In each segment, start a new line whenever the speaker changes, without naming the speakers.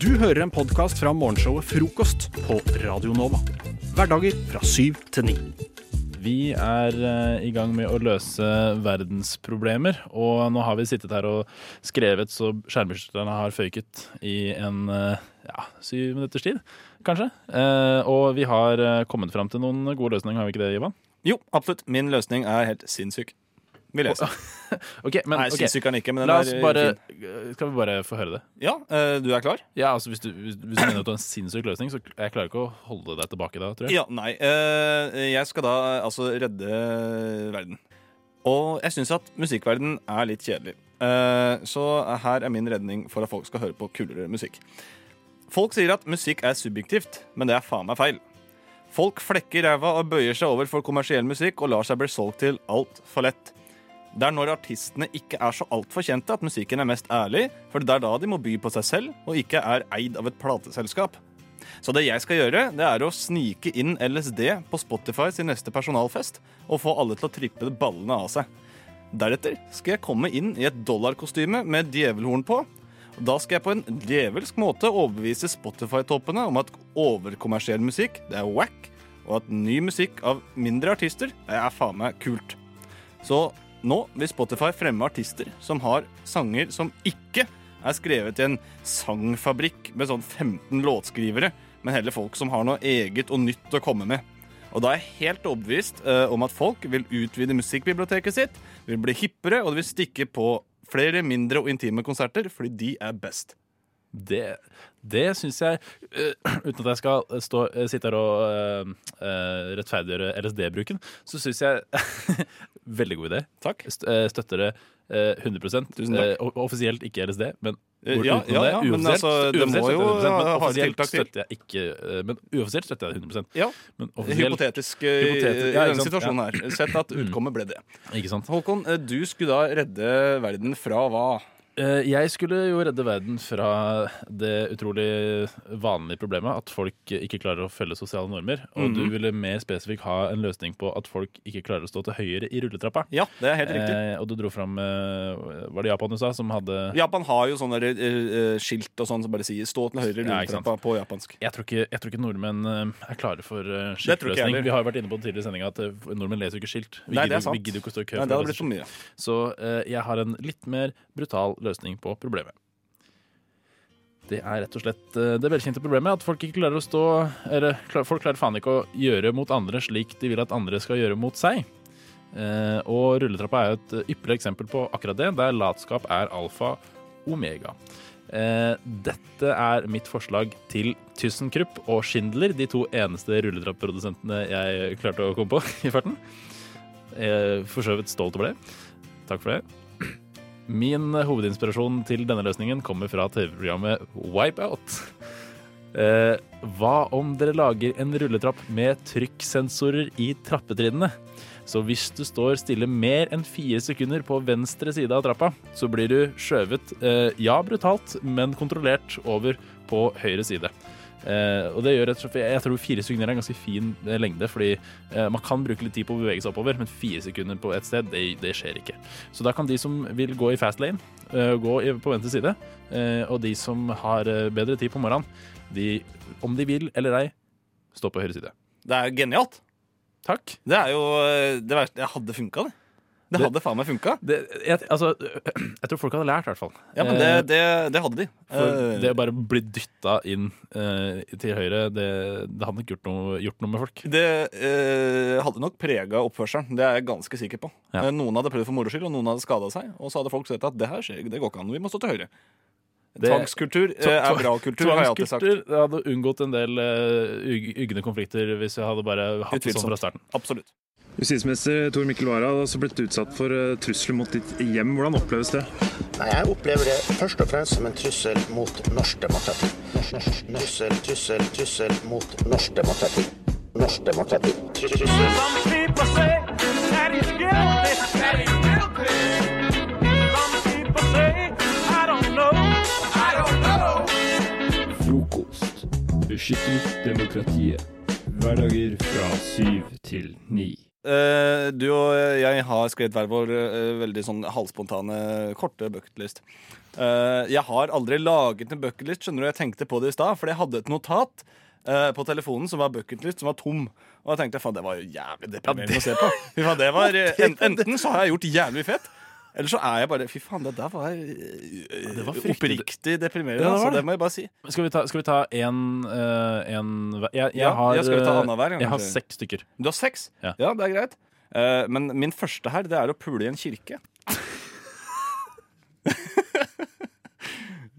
Du hører en podkast fra morgenshowet Frokost på Radio Nova. Hverdager fra syv til ni.
Vi er eh, i gang med å løse verdensproblemer, og nå har vi sittet her og skrevet så skjermbeskytterne har føyket i en eh, ja, syv minutters tid, kanskje. Eh, og vi har eh, kommet fram til noen gode løsninger, har vi ikke det, Ivan?
Jo, absolutt. Min løsning er helt sinnssyk. Vil jeg si.
Ok, men
Nei,
ok,
sinnssyk er den ikke, men den
La oss
er eh,
bare
fin.
Skal vi bare få høre det?
Ja, eh, du er klar?
Ja, altså Hvis du, hvis, hvis du mener at du har en sinnssyk løsning, så jeg klarer ikke å holde deg tilbake da, tror jeg.
Ja, nei. eh, jeg skal da eh, altså redde eh, verden. Og jeg syns at musikkverden er litt kjedelig. Eh, så her er min redning for at folk skal høre på kulere musikk. Folk sier at musikk er subjektivt, men det er faen meg feil. Folk flekker ræva og bøyer seg over for kommersiell musikk og lar seg bli solgt til altfor lett. Det er når artistene ikke er så altfor kjente at musikken er mest ærlig, for det er da de må by på seg selv og ikke er eid av et plateselskap. Så det jeg skal gjøre, det er å snike inn LSD på Spotify sin neste personalfest og få alle til å trippe ballene av seg. Deretter skal jeg komme inn i et dollarkostyme med djevelhorn på. Og Da skal jeg på en djevelsk måte overbevise Spotify-toppene om at overkommersiell musikk, det er wack, og at ny musikk av mindre artister, det er faen meg kult. Så nå vil Spotify fremme artister som har sanger som ikke er skrevet i en sangfabrikk med sånn 15 låtskrivere, men heller folk som har noe eget og nytt å komme med. Og da er jeg helt overbevist eh, om at folk vil utvide musikkbiblioteket sitt, vil bli hippere, og de vil stikke på flere mindre og intime konserter, fordi de er best.
Det, det syns jeg øh, Uten at jeg skal stå, sitte her og øh, øh, rettferdiggjøre LSD-bruken, så syns jeg Veldig god idé.
Takk.
St- øh, Støtter det øh, 100
Tusen takk.
Eh, o- Offisielt ikke LSD, men
Eh,
bort
ja,
utenom
ja, ja,
det.
men
Uoffisielt,
altså, det må
uoffisielt
jo
100%, men
ha- ha
offisielt
tiltak til.
støtter jeg ikke øh, Men uoffisielt støtter jeg det 100
Ja,
Men offisielt,
hypotetisk eh,
Hypotetisk,
i
ja, ikke
denne
sant?
situasjonen her. Sett at utkommet ble det.
ikke sant?
Håkon, eh, du skulle da redde verden fra hva?
Eh, Jeg skulle jo redde verden fra det utrolig vanlige problemet at folk ikke klarer å følge sosiale normer. Og du
Mhm.
ville mer spesifikt ha en løsning på at folk ikke klarer å stå til høyre i rulletrappa.
Ja, det er helt riktig.
Eh, og du dro fram eh, Var det Japan du sa? Som hadde
Japan har jo sånne der, eh, eh, skilt og sånn som bare sier 'stå til høyre i
Ja, ikke sant.
rulletrappa' på japansk.
jeg tror, ikke, jeg tror ikke nordmenn eh, er klare for
Det tror
eh,
ikke jeg
skiltløsning.
heller.
Vi har jo vært inne på det tidligere i sendinga at eh, nordmenn leser jo ikke skilt. Vi
Nei, det er
gidder jo- vi
sant.
gidder jo ikke å stå i kø.
Nei,
for
det
å
hadde
lese
blitt for mye.
skilt. Så eh, jeg har en litt mer brutal løsning på problemet. Det er rett og slett eh, det velkjente problemet at folk ikke klarer å stå Eller klar, folk klarer faen ikke å gjøre mot andre slik de vil at andre skal gjøre mot seg. Eh, og rulletrappa er jo et eh, ypperlig eksempel på akkurat det, der latskap er alfa omega. Eh, dette er mitt forslag til Tyssenkrupp og Schindler, de to eneste rulletrappprodusentene jeg klarte å komme på i farten. Eh, for så vidt stolt over det. Takk for det. Min hovedinspirasjon til denne løsningen kommer fra TV-programmet Wipeout. Eh, hva om dere lager en rulletrapp med trykksensorer i trappetrinnene? Så hvis du står stille mer enn fire sekunder på venstre side av trappa, så blir du skjøvet, eh, ja brutalt, men kontrollert over på høyre side. Eh, og det gjør rett og slett, Jeg tror fire sekunder er en ganske fin eh, lengde, fordi eh, man kan bruke litt tid på å bevege seg oppover, men fire sekunder på ett sted, det, det skjer ikke. Så da kan de som vil gå i fast lane, eh, gå i- på venstre side, eh, og de som har eh, bedre tid på morgenen, de, om de vil eller ei, stå på høyre side.
Det er jo genialt.
Takk.
Det er jo eh, det verste. Det hadde funka, det. Det
Det-
hadde faen meg funka.
Det, jeg, altså, jeg tror folk hadde lært, i hvert fall. Eh,
Ja, men det, det, det hadde de.
For
Eh,
det å bare bli dytta inn eh, til høyre, det, det hadde nok gjort noe, gjort noe med folk.
det eh, hadde nok prega oppførselen. Det er jeg ganske sikker på.
Ja.
Eh, Noen hadde prøvd for moro skyld, og noen hadde skada seg. Og så hadde folk sett at det her skjer, det går ikke an, vi må stå til høyre.
Det-
Tvangskultur eh,
Tva-
er bra kultur, har jeg alltid sagt.
Tvangskultur det hadde unngått en del eh, ug- ugne konflikter hvis jeg hadde bare hatt det sånn
Utvilsomt.
fra starten.
Absolutt.
Justisminister Tor Mikkel Wara har også blitt utsatt for eh, trusler mot ditt hjem. Hvordan oppleves det?
Nei, Jeg opplever det først og fremst som en trussel mot norsk demokrati. Norsk, norsk, trussel, trussel, trussel mot norsk demokrati. Norsk demokrati. Trussel.
Some people say that he's guilty. That he's guilty. Some people say, I don't know. I don't know.
Frokost. Beskytter demokratiet. Hverdager fra syv til ni.
Eh, du og jeg har skrevet hver vår eh, veldig sånn halvspontane, korte bucketlist. Eh, jeg har aldri laget en bucketlist, skjønner du. Jeg tenkte på det i stad, fordi jeg hadde et notat eh, på telefonen som var bucketlist, som var tom. Og jeg tenkte faen, det var jo jævlig deprimerende å se på. Fy faen, det var, eh, en, enten så har jeg gjort jævlig fett, eller så er jeg bare Fy faen, det der var, eh,
det var fryktelig-
oppriktig deprimerende.
Ja, det var
altså,
det.
det må jeg bare si.
Skal vi ta, skal vi ta en, eh, en hver? Jeg, jeg
Ja,
har,
jeg skal vi ta
eh,
Anna hver, kanskje?
Jeg har seks stykker.
Du har seks?
Ja.
det er greit. Eh, men min første her, det er å pule i en kirke.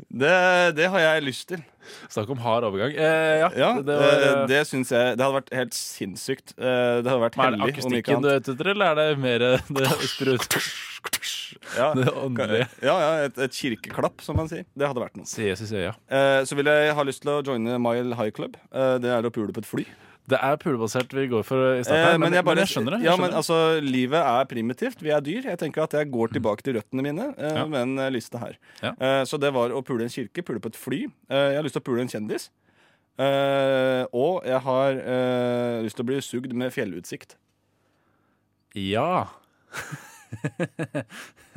det, det har jeg lyst til.
Snakk om hard overgang. Eh, ja,
Ja,
det,
det,
det var eh,
det, syns jeg Det hadde vært helt sinnssykt. Eh, det hadde vært
Men Er det
hellig. om ikke
akustikken du
annet.
er ute etter, eller er det mer eh, det, sprø- det åndelige?
Ja, ja et, et kirkeklapp, som man sier. Det hadde vært noe.
Ses i øya.
Eh, så vil jeg ha lyst til å joine Mile High Club. Eh, det er å pule på et fly.
Det er pulebasert vi går for i starten,
Eh,
her, men, men, jeg
bare-
skjønner det. Jeg
ja, men
skjønner det.
altså, Livet er primitivt. Vi er dyr. Jeg tenker at jeg går tilbake til røttene mine eh,
Ja.
med en eh, liste her.
Ja.
Eh, så det var å pule en kirke, pule på et fly. Eh, jeg har lyst til å pule en kjendis. Eh, og jeg har eh, lyst til å bli sugd med fjellutsikt.
ja.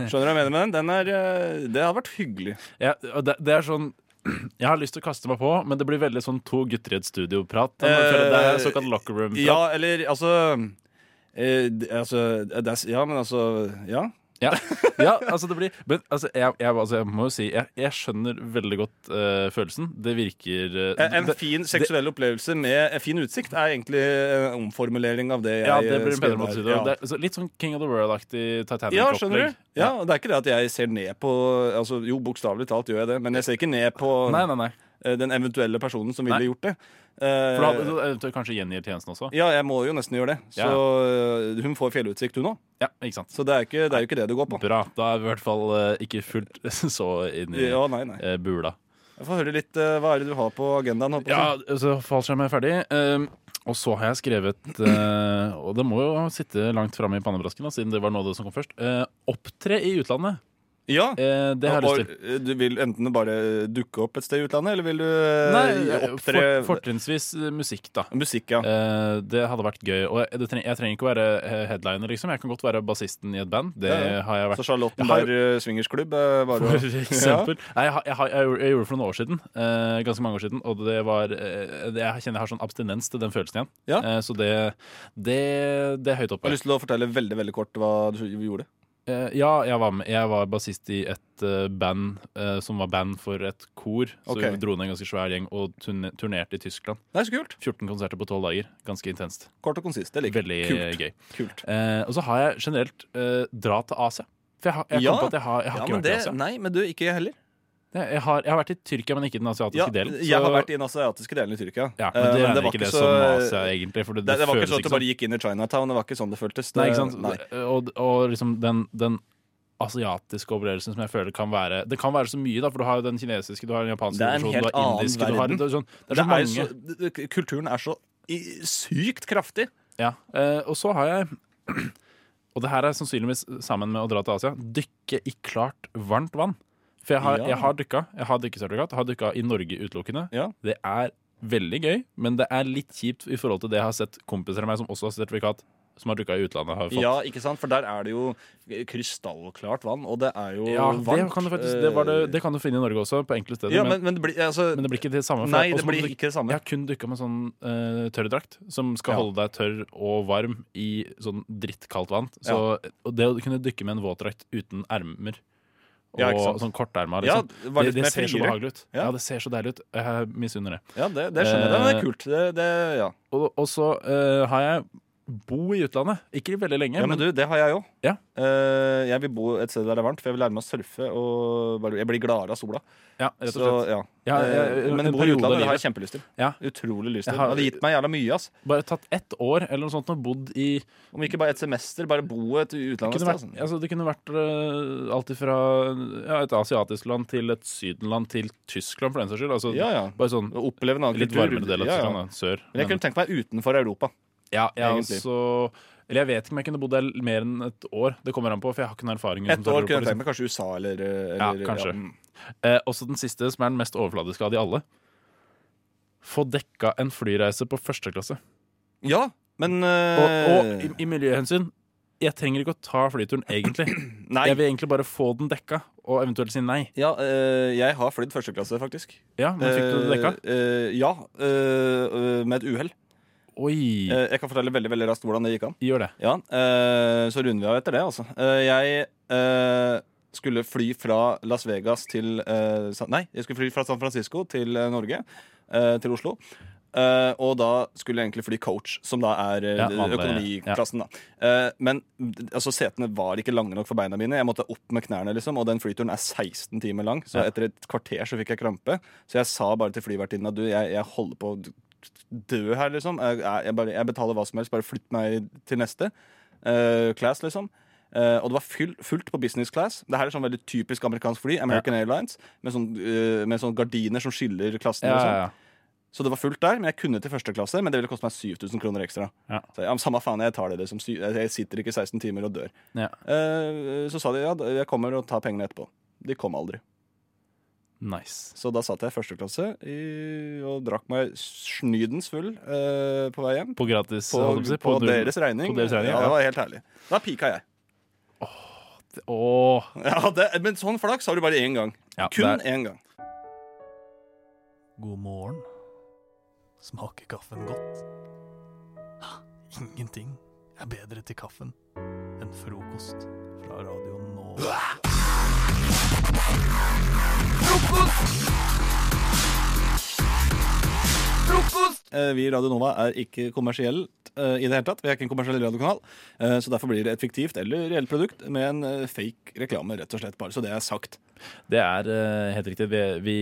Skjønner du hva jeg mener med den? den er, eh, det hadde vært hyggelig.
Ja, og det, det er sånn Jeg har lyst til å kaste meg på, men det blir veldig sånn to gutter i et studio-prat. Jeg føler Det er såkalt locker room-prat.
Eh, Ja, eller altså eh, d- altså, eh, det er, s- ja, men altså Ja.
Ja. ja, altså det blir Men altså, jeg, jeg, altså, jeg må jo si jeg, jeg skjønner veldig godt eh, følelsen. Det virker eh,
En, en
det-
fin seksuell opplevelse med en fin utsikt er egentlig en omformulering av det jeg
Ja, det blir en
skrev
bedre måte å si
der.
det på.
Ja.
Det er så Litt sånn King of the World-aktig
Ja, skjønner
Titanic-opplegg.
du? Ja, og Det er ikke det at jeg ser ned på altså, Jo, bokstavelig talt gjør jeg det, men jeg ser ikke ned på
Nei, nei, nei.
eh, den eventuelle personen som ville
Nei.
gjort det. Eh,
For da hadde du eventuelt kanskje gjengir tjenesten også.
ja, jeg må jo nesten gjøre det. Så eh, hun får fjellutsikt, hun òg.
Ja, ikke sant.
Så det er, ikke, det er jo ikke det det går på.
Bra. Da er vi i hvert fall eh, ikke fullt så inn i
Ja, nei, nei.
eh, bula.
Jeg får høre litt eh, Hva er det du har på agendaen? Håper
Ja, så fallskjermen er ferdig. Ehm, og så har jeg skrevet eh, Og det må jo sitte langt framme i pannebrasken, da, siden det var noe av det som kom først. Eh, opptre i utlandet.
ja.
Eh, det har jeg lyst til.
Og, eh, Du vil enten bare dukke opp et sted i utlandet, eller vil du
Nei,
eh,
for,
opptre
fortrinnsvis eh, musikk, da.
Musikk, ja.
Eh, det hadde vært gøy. Og jeg, det treng, jeg trenger ikke å være eh, headliner, liksom. Jeg kan godt være bassisten i et band. Det
Ja, ja.
har jeg vært.
Så
Jeg har
Charlottenberg eh, swingersklubb eh, var
For
jo
eksempel. Nei, jeg, har- jeg, har- jeg, gjorde- jeg gjorde det for noen år siden. eh, ganske mange år siden. Og det var eh, det, Jeg kjenner jeg har sånn abstinens til den følelsen igjen.
Ja.
Eh, så det, det, det er høyt
Jeg
oppe.
har lyst til å fortelle veldig veldig kort hva du gjorde.
Eh, ja, jeg var med. Jeg var bassist i et eh, band eh, som var band for et kor. Så
Ok.
vi dro ned en ganske svær gjeng og turne, turnerte i Tyskland.
Det er så kult.
14 konserter på 12 dager. Ganske intenst.
Kort og konsist. Det liker jeg.
Veldig
Kult.
gøy.
Kult.
Eh, og så har jeg generelt eh, dra til Asia. For jeg har, jeg
Ja.
kom på at jeg har, jeg har ikke vært i Asia.
nei, men du, ikke jeg heller.
Jeg, jeg, har, jeg har vært i Tyrkia, men ikke i den asiatiske
Ja,
delen.
Jeg har
så-
vært i den asiatiske delen i Tyrkia.
Ja,
Eh,
men det er
var
ikke det
så-
som Asia, egentlig. For det,
Det,
det,
det var ikke
føles
sånn
liksom-
at du bare gikk inn i Chinatown. Det var ikke sånn det føltes. Det,
Nei, ikke sant?
nei.
Og, og liksom den, den asiatiske opplevelsen som jeg føler kan være Det kan være så mye, da, for du har jo den kinesiske, du har den japanske
Det er en
versjonen, sånn du
helt
har
annen
indiske du har,
verden.
det, er sånn, det er
Det
så
er
mange.
så, det- det- kulturen er så i- sykt kraftig.
Ja. Eh, og så har jeg Og det her er sannsynligvis sammen med å dra til Asia. Dykke i klart, varmt vann. For jeg har,
Ja.
jeg har dykka. Jeg har dykkesertifikat. Har dykka i Norge utelukkende.
Ja.
Det er veldig gøy, men det er litt kjipt i forhold til det jeg har sett kompiser av meg som også har sertifikat, som har dykka i utlandet. Har fått.
Ja, ikke sant? For der er det jo krystallklart vann, og det er jo
Ja,
varmt. Eh,
det kan du faktisk det, var det, det kan du finne i Norge også, på enkle steder.
ja,
men,
men, men det blir altså,
men det blir ikke det samme. for
Nei,
jeg- og
det
så må
blir
du-
ikke det samme.
Jeg har kun dykka med sånn eh, tørrdrakt, som skal
Ja.
holde deg tørr og varm i sånn drittkaldt vann. Så, Og det å kunne dykke med en våtdrakt uten ermer og
Ja, ikke sant.
sånn korterma,
Ja,
liksom,
var
det,
litt
det
mer
ser så
friere.
behagelig ut.
Ja.
Ja. det ser så deilig ut. Jeg misunner det.
Ja, det, det skjønner jeg. Det, men det
Eh,
er kult. Det, det, ja.
Og, og så eh, har jeg bo i utlandet. Ikke veldig lenge,
ja, men du, det har jeg òg.
Ja.
jeg vil bo et sted der det er varmt, for jeg vil lære meg å surfe. Og bare, jeg blir gladere av sola.
Eh, ja, rett og
Så,
slett.
ja.
Ja, jeg-
Eh, Men
en
bo i
periode av
utlandet det har
livet.
jeg kjempelyst til.
Ja.
Utrolig lyst
Jeg
til.
har-
Det hadde gitt meg jævla mye. ass
Bare tatt ett år eller noe sånt og bodd i
Om ikke bare et semester, bare bo et utlandet.
kunne
et
vært,
sted, altså.
altså det kunne vært øh, alt fra ja, et asiatisk land til et sydenland til Tyskland, for den saks skyld. Altså,
Ja, ja.
Bare sånn
Å Oppleve en annen
litt
kultur.
varmere del av
Ja, ja.
Tyskland, da, sør.
Men jeg
Men-
kunne tenkt meg utenfor Europa.
ja, jeg
egentlig.
også- eller jeg vet ikke om jeg kunne bodd der mer enn et år. Det kommer an på, for jeg har ikke noen erfaring.
Et år kunne jeg tenkt
liksom.
meg kanskje USA eller, eller
Ja, kanskje.
mm.
eh, også den siste, som er den mest overfladiske av de alle. Få dekka en flyreise på første klasse.
Ja, men
Og, og
eh,
i, i miljøhensyn jeg trenger ikke å ta flyturen, egentlig.
Nei.
Jeg vil egentlig bare få den dekka, og eventuelt si nei.
Ja, eh, jeg har flydd første klasse, faktisk.
Ja, men fikk du det dekka?
Eh, eh, ja, eh, eh, med et uhell.
Oi,
Eh, jeg kan fortelle veldig veldig raskt hvordan det gikk an.
gjør det.
Ja, eh, Så runder vi av etter det, altså. Eh, jeg eh, skulle fly fra Las Vegas til eh, San- Nei, jeg skulle fly fra San Francisco til eh, Norge. eh, til Oslo. Eh, og da skulle jeg egentlig fly coach, som da er eh,
Ja, vanlig,
økonomiklassen. da Eh, Men d- altså, setene var ikke lange nok for beina mine. Jeg måtte opp med knærne, liksom, og den flyturen er 16 timer lang. Så
Ja.
etter et kvarter så fikk jeg krampe. Så jeg sa bare til flyvertinnen at du, jeg, jeg holder på å d- dø her, liksom. Jeg, jeg- jeg, bare, jeg betaler hva som helst, bare flytt meg til neste eh, class, liksom. Eh, og det var fyll, fullt på business class. Det her er sånn veldig typisk amerikansk fly. American Airlines. Med sånn, eh, med sånn gardiner som skiller klassene.
Ja,
og sånn.
ja, ja.
Så det var fullt der, men jeg kunne til første klasse, men det ville koste meg 7000 kroner ekstra.
Ja.
Så jeg, ja, men samme faen, jeg tar det liksom. Sy- Jeg sitter ikke 16 timer og dør.
Ja.
Eh, så sa de ja, jeg kommer og tar pengene etterpå. De kom aldri.
Nice.
Så da satt jeg i første klasse i, og drakk meg snydens full eh, på vei hjem.
På gratis,
På,
holdt jeg på å si,
på,
null-
deres regning.
På deres regning,
ja,
ja.
det var helt herlig. Da pika jeg.
Åh,
Ja, det, men sånn flaks har du bare én gang.
ja,
Kun
det er-
én gang.
God morgen. Smaker kaffen godt? Ah, Ingenting er bedre til kaffen enn frokost fra Radio Nova.
Eh, Vi i Radio Nova er ikke kommersielt eh, i det hele tatt. Vi er ikke en kommersiell radiokanal. eh, Så derfor blir det et fiktivt eller reelt produkt med en eh, fake reklame, rett og slett. Bare så det er sagt.
det er eh, helt riktig. Vi, vi,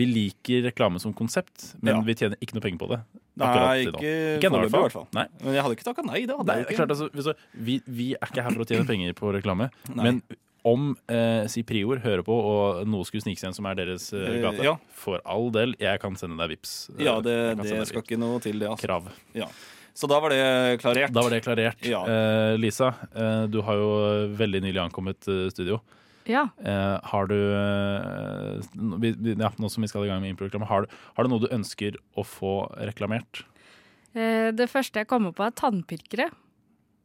vi liker reklame som konsept, men
Ja.
vi tjener ikke noe penger på det.
Nei,
i dag.
ikke
ennå,
foreløpig, i hvert fall.
Nei.
Men jeg hadde ikke takka nei, det hadde
Nei,
jeg
det er
jo
klart,
ikke.
altså, hvis du- vi, vi er ikke her for å tjene penger på reklame, men om eh, si Prior hører på, og noe skulle snike seg inn som er deres eh,
Eh,
gate,
ja.
for all del, jeg kan sende deg vips. Eh,
Ja, det,
jeg kan
det
sende deg
skal
Vipps.
ikke noe til, det. Altså.
Krav.
Ja. Så da var det klarert.
Da var det klarert.
Ja.
Eh, Lisa, eh, du har jo veldig nylig ankommet eh, studio.
Ja.
Eh, har du eh, n- vi- vi- ja, Nå som vi skal i gang med improreklame, har, du- har du noe du ønsker å få reklamert?
Eh, Det første jeg kommer på, er tannpirkere.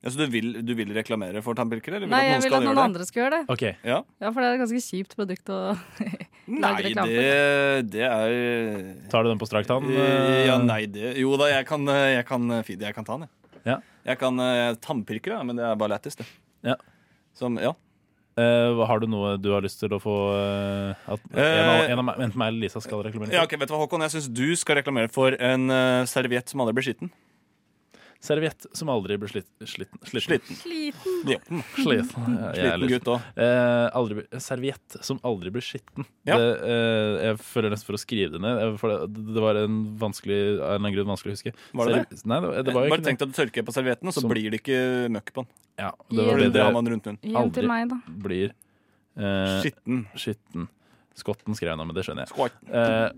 Ja, så du vil, du vil reklamere for tannpirkere? Eller vil
Nei,
at
jeg
noen
vil
skal
at noen
gjøre det?
andre skal gjøre det.
OK.
Ja.
Ja, For det er et ganske kjipt produkt å lage
Nei,
reklame for.
det, det er
Tar du den på strak tann?
Eh,
eh?
Ja, nei, det Jo da, jeg kan, eh, jeg kan, eh, feed- jeg kan ta den, jeg.
Ja.
Jeg kan eh, tannpirker, da, men det er bare lættis, det.
Ja.
Som, ja.
Eh, hva- har du noe du har lyst til å få eh, at en av,
Eh,
en av, meg- Enten meg eller Lisa skal reklamere? for?
ja, ok, vet du hva, Håkon? Jeg syns du skal reklamere for en eh, serviett som aldri blir skitten.
Serviett som aldri blir slitt, slitten. Slitten.
Sliten.
Sliten.
Ja.
sliten. Ja, jeg er
Sliten
litt-
gutt òg.
Eh, aldri, bli- serviett som aldri blir skitten.
Ja.
Det, eh, jeg føler nesten for å skrive det ned. eh, For det, det var en vanskelig, av en eller annen grunn vanskelig å huske.
Var det
Serv- Nei, det, var- det var jo
Bare
ikke
tenk deg at du tørker på servietten, og så
Som-
blir det ikke møkk på den.
det. Ja, det var det
Det har
det
man rundt munnen.
Gi den
Aldri.
til meg, da.
blir. Eh,
Skitten.
skitten. Skotten skrev jeg nå, men det skjønner jeg.
Squat.
Eh,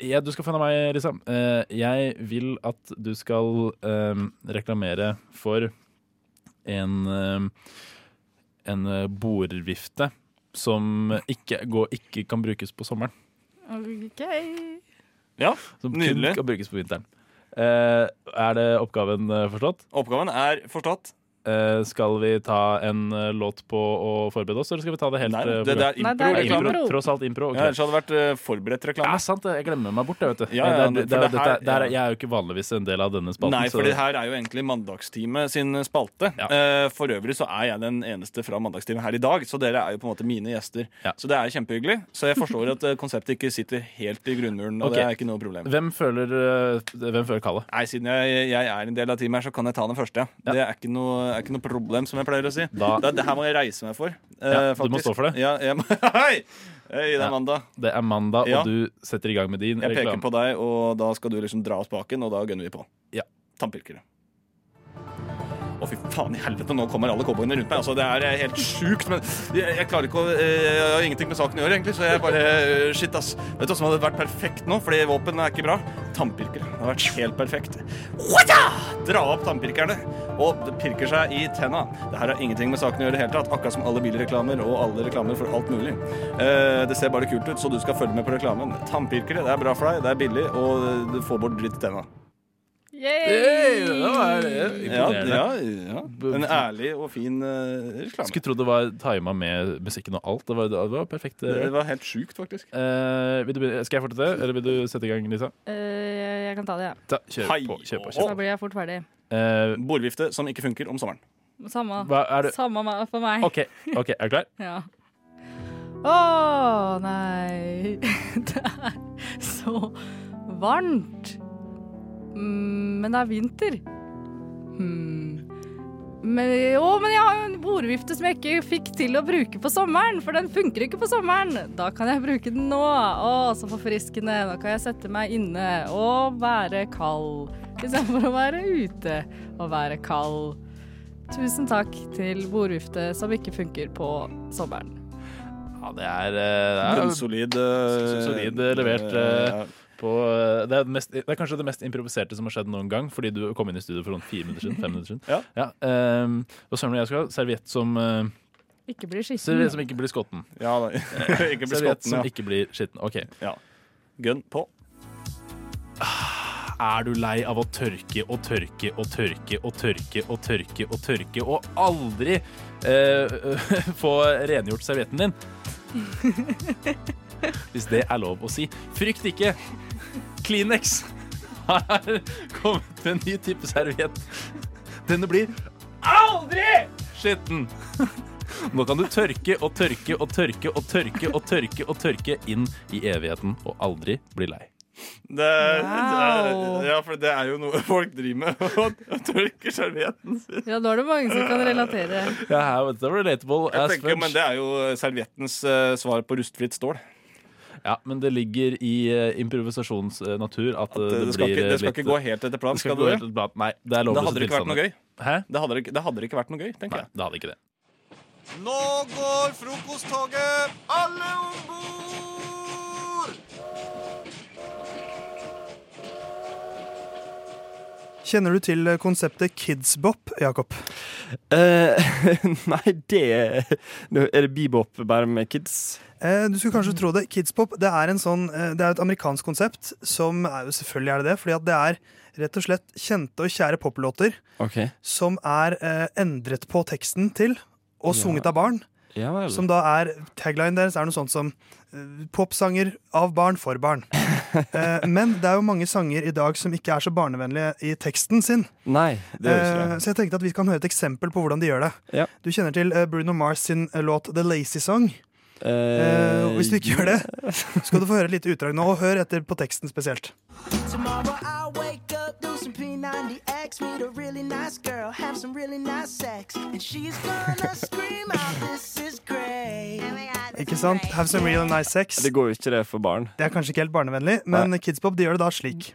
ja, du skal få en av meg, Lisa. Eh, jeg vil at du skal eh, reklamere for en eh, en eh, borvifte som ikke, går, ikke kan brukes på sommeren.
Ok.
Ja,
Som
Nydelig.
kun kan brukes på vinteren. Eh, er det oppgaven eh, forstått?
Oppgaven er forstått.
Eh, skal vi ta en eh, låt på å forberede oss, eller skal vi ta det helt
Nei,
eh,
det, det
program?
er
Nei, det er
Ja,
impro-reklame.
impro.
impro. Tross alt impro. ok.
Ja, ellers hadde det vært eh, forberedt
Ja,
reklame.
sant det. Jeg glemmer meg bort, det, vet du. Eh,
Ja, ja,
det, er- det,
for
er-
det
dette,
her-
er- det er-
ja.
jeg er jo ikke vanligvis en del av denne spalten.
Nei,
så-
for det her er jo egentlig Mandagstime sin spalte.
Ja.
Eh, for øvrig så er jeg den eneste fra Mandagstime her i dag, så dere er jo på en måte mine gjester.
Ja.
Så det er kjempehyggelig. Så jeg forstår at eh, konseptet ikke sitter helt i grunnmuren, og
Ok.
det er ikke noe problem.
Hvem føler, eh, hvem føler kallet?
Nei, siden jeg, jeg er en del av teamet her, så kan jeg ta den første. Ja. Det er ikke, noe, er ikke noe problem, som jeg pleier å si.
Da-
det, det her må jeg reise meg for. eh,
Ja, du må
faktisk.
stå for det.
Ja, jeg, må- hei! Hei, det
Ja.
er mandag.
Det er mandag,
Ja.
og du setter i gang med din
Jeg peker
reklame.
på deg, og da skal du liksom dra av spaken, og da gønner vi på.
Ja.
Tannpirkere. Å, fy faen i helvete, nå kommer alle cowboyene rundt meg. Altså, det er helt sjukt, men jeg, jeg klarer ikke å eh, Jeg har ingenting med saken å gjøre, egentlig, så jeg bare eh, Shit, ass. Vet du hva som hadde vært perfekt nå? Fordi våpen er ikke bra. Tannpirkere. Det hadde vært helt perfekt. Wata! Dra opp tannpirkerne, og det pirker seg i tenna. Det her har ingenting med saken å gjøre i det hele tatt, akkurat som alle bilreklamer og alle reklamer for alt mulig. Eh, det ser bare kult ut, så du skal følge med på reklamen. Tannpirkere, det er bra for deg, det er billig, og eh, du får bort dritt i tenna.
Hey,
Yay!
det var eh,
Ja,
imponerende.
ja, ja. En ærlig og fin eh, reklame.
Skulle tro det var tima med musikken og alt. Det var, det var perfekt. eh,
Det var helt sjukt, faktisk.
Eh, vil du, begynne- skal jeg fortsette, eller vil du sette i gang, Lisa?
Eh, jeg, jeg kan ta det, ja.
Ta, kjør
Hei,
på. Kjør på,
og-
kjør på.
Da blir jeg fort ferdig.
Eh,
Bordvifte som ikke funker om sommeren.
Samme,
hva er det
Samme me- for meg.
OK, ok, er du klar?
Ja. Å nei, det er så varmt. Mm, men det er vinter. Hmm. Men, jo, men jeg har jo en bordvifte som jeg ikke fikk til å bruke på sommeren, for den funker ikke på sommeren. Da kan jeg bruke den nå. Å, så forfriskende. Da kan jeg sette meg inne og være kald. Istedenfor å være ute og være kald. Tusen takk til bordvifte som ikke funker på sommeren.
Ja, det er, eh, det er
Bunnsolid. eh,
Solid, eh, levert, eh,
ja.
på, eh, det, er mest, det er kanskje det mest improviserte som har skjedd noen gang, fordi du kom inn i studio for rundt fire minutter siden. Fem minutter siden.
Ja.
ehm, og Søren og jeg skal ha serviett som, eh,
Ikke bli skitten.
serviett som ikke blir skotten.
Ja, da. ikke bli
Serviett
skotten,
som
ja.
ikke blir skitten. OK.
Gun på.
Ah, Er du lei av å tørke og tørke og tørke og tørke og tørke og tørke og aldri eh, få rengjort servietten din? Hvis det er lov å si. Frykt ikke! Kleenex har kommet med en ny type serviett. Denne blir aldri skitten! Nå kan du tørke og tørke og tørke og tørke og tørke og tørke inn i evigheten og aldri bli lei.
Det, er-
Wow.
det er, ja, for det er jo noe folk driver med. Og tørker servietten sin.
Ja, nå er det mange som kan relatere.
Ja, her, vet du, det var relatable
Jeg
as
tenker,
fudge.
men det er jo serviettens eh, svar på rustfritt stål.
Ja, men det ligger i eh, improvisasjonsnatur at, eh,
Det,
det,
skal,
blir
ikke,
eh,
det skal
litt-
ikke gå helt etter plan.
det
Skal
skal ikke
det
gå
det?
helt blant- Nei, det sånn. er
Da
lovløse
hadde det ikke vært noe gøy.
Hæ?
Det hadde, det ikke- det hadde det ikke vært noe gøy, tenker
Nei,
jeg.
det hadde ikke det.
Nå går frokosttoget! Alle om bord!
Kjenner du til eh, konseptet kidsbop, Jakob?
Eh, nei, det Er det bebop bare med kids?
Eh, Du skulle kanskje tro det. Kidspop det er, en sånn, eh, det er et amerikansk konsept. som er jo Selvfølgelig er det det. fordi at det er rett og slett kjente og kjære poplåter
OK.
som er eh, endret på teksten til og sunget av barn.
Ja vel.
Som da er, Tagline deres er noe sånt som eh, 'popsanger av barn for barn'. Eh, men det er jo mange sanger i dag som ikke er så barnevennlige i teksten sin.
Nei, det
Eh,
gjør ikke det.
så jeg tenkte at vi kan høre et eksempel på hvordan de gjør det.
Ja.
Du kjenner til eh, Bruno Mars sin eh, låt 'The Lazy Song'. Eh, og hvis du ikke gjør det, skal du få høre et lite utdrag nå. Og hør etter på teksten spesielt.
Tomorrow I'll wake up, do some P90X, meet a really nice girl, have some really nice sex, and she's gonna scream out, this is great.
Ikke sant? Have some real nice sex.
Det går jo ikke det for barn.
Det er kanskje ikke helt barnevennlig, men Kidspop de gjør det da slik.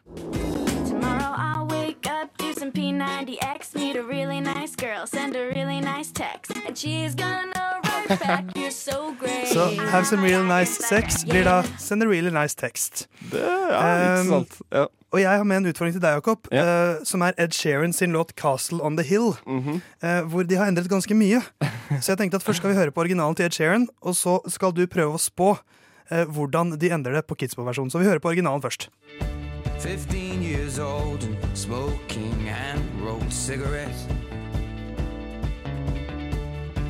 Tomorrow I'll wake up, do some P90X, meet a really nice girl, send a really nice text, and she's gonna write back, you're so great.
Så have some real nice sex blir da send a really nice text.
Det er ikke
Um,
sant. Ja.
Og jeg har med en utfordring til deg, Jakob,
Ja.
eh, som er Ed Sheeran sin låt 'Castle on the Hill',
Mhm.
eh, hvor de har endret ganske mye. Så jeg tenkte at først skal vi høre på originalen til Ed Sheeran, og så skal du prøve å spå eh, hvordan de endrer det på Kidspop-versjonen. Så vi hører på originalen først.
15 years old and smoking and rolled cigarettes.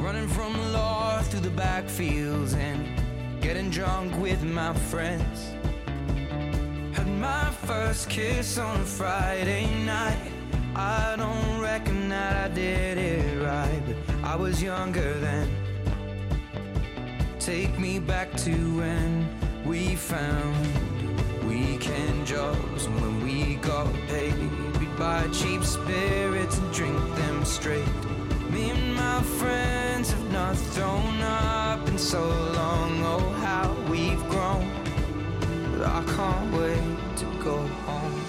Running from the law through the backfields and getting drunk with my friends. Had my first kiss on a Friday night. I don't reckon that I did it right, but I was younger then. Take me back to when we found Weekend jobs and when we got paid, we'd buy cheap spirits and drink them straight. Me and my friends have not thrown up in so long. Oh, how we've grown. But I can't wait to go home.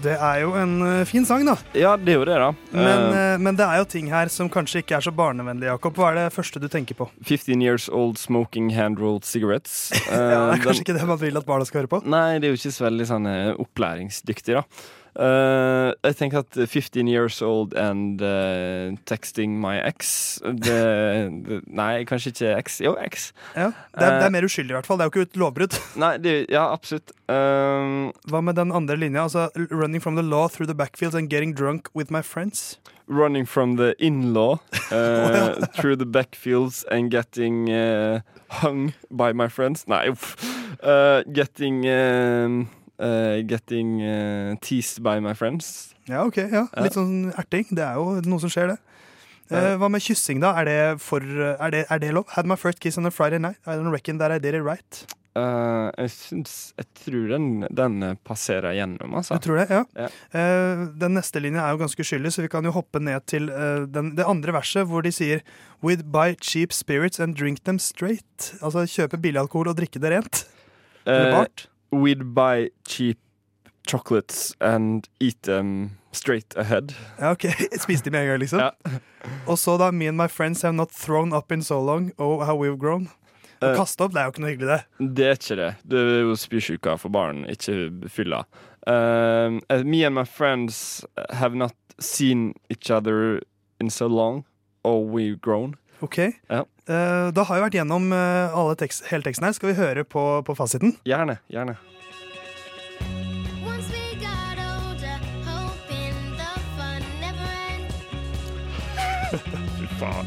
Det er jo en eh, fin sang, da.
ja, det er jo det, da.
Men,
Eh,
eh, men det er jo ting her som kanskje ikke er så barnevennlig, Jakob. Hva er det første du tenker på?
15 years old smoking hand-rolled cigarettes. Eh,
Ja, det er
den-
kanskje ikke det man vil at barna skal høre på.
Nei, det er jo ikke så veldig sånn eh, opplæringsdyktig, da. Eh, jeg tenker at 15 years old and eh, texting my ex det, det, Nei, kanskje ikke ex. Jo, ex. Eh,
Ja, det, er, det er mer uskyldig, i hvert fall. Det er jo ikke et lovbrudd.
Nei, ja, absolutt. Um,
Hva med den andre linja? Altså, running from the law through the backfields and getting drunk with my friends.
Running from the in-law eh,
Oh,
through the backfields and getting eh, hung by my friends. Nei, uff. Eh, getting eh, eh, Getting eh, teased by my friends.
Ja, ok. ja.
Ja.
Litt sånn erting. Det er jo noe som skjer, det. Eh, hva med kyssing, da? Er det, for, eh, er, det, er det lov? Had my first kiss on a Friday night. I don't reckon that I did it right.
Eh, jeg syns Jeg tror den, den passerer gjennom, altså.
Du tror det, ja.
Ja.
Eh, den neste linja er jo ganske uskyldig, så vi kan jo hoppe ned til eh, den, det andre verset, hvor de sier With buy cheap spirits and drink them straight. Altså kjøpe billig alkohol og drikke det rent. Eller
Eh,
bart.
we'd buy cheap chocolates and eat them straight ahead.
Ja, ok. Spiste de med en gang, liksom? Og så da Me and my friends have not thrown up in so long. Oh, how we've grown. Å
Eh.
kaste opp, det er jo ikke noe hyggelig, det.
Det er ikke det. Det er jo spysjuka for barn, ikke fylla. Um, uh, me and my friends have not seen each other in so long, or we've grown.
Ok.
Ja.
Eh, da har vi vært gjennom eh, alle tekst, hele teksten her. Skal vi høre på, på fasiten?
Gjerne. gjerne.
Once we got older, hoping the fun never ends.
Fy faen.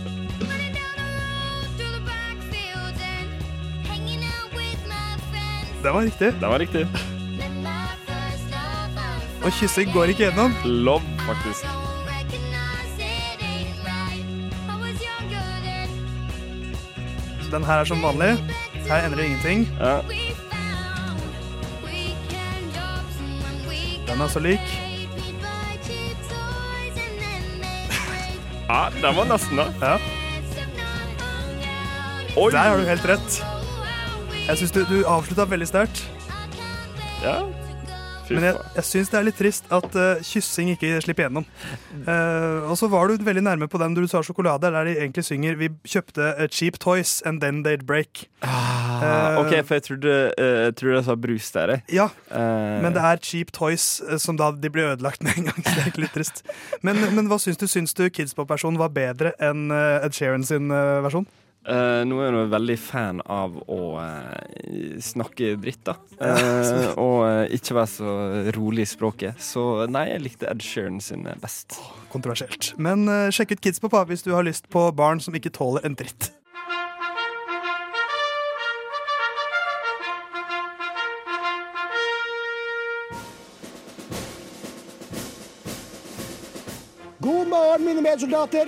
Running down the road through the backfields and hanging out with my friends.
Den var riktig.
Den var riktig.
Met my first love on
Og kyssing går ikke gjennom.
Love, faktisk.
don't recognize it ain't right. I was younger then.
Den her er som vanlig. Her endrer ingenting. Den er så lik.
Ja, den var nesten da. Oi.
Der har du helt rett. Jeg syns du, du avslutta veldig sterkt.
Ja. Fy
Men jeg,
faen.
jeg syns det er litt trist at eh, kyssing ikke slipper gjennom.
Mm.
Eh, og så var du veldig nærme på den du sa sjokolade, der de egentlig synger Vi kjøpte eh, cheap toys and then they'd break.
Ah,
Eh,
OK, for jeg trodde, eh, jeg trodde jeg sa brus der, jeg.
Ja,
Eh,
Men det er cheap toys eh, som da de blir ødelagt med en gang. Så det er egentlig litt trist. Men, men hva syns du? Syns du Kidspop-versjonen var bedre enn eh, Ed Sheeran sin eh, versjon?
Eh, nå er jeg jo veldig fan av å eh, snakke dritt, da. Eh, og eh, ikke være så rolig i språket. Så nei, jeg likte Ed Sheeran sin eh, best.
Kontroversielt. Men eh, sjekk ut Kidspop da, hvis du har lyst på barn som ikke tåler en dritt.
God morgen, mine medsoldater.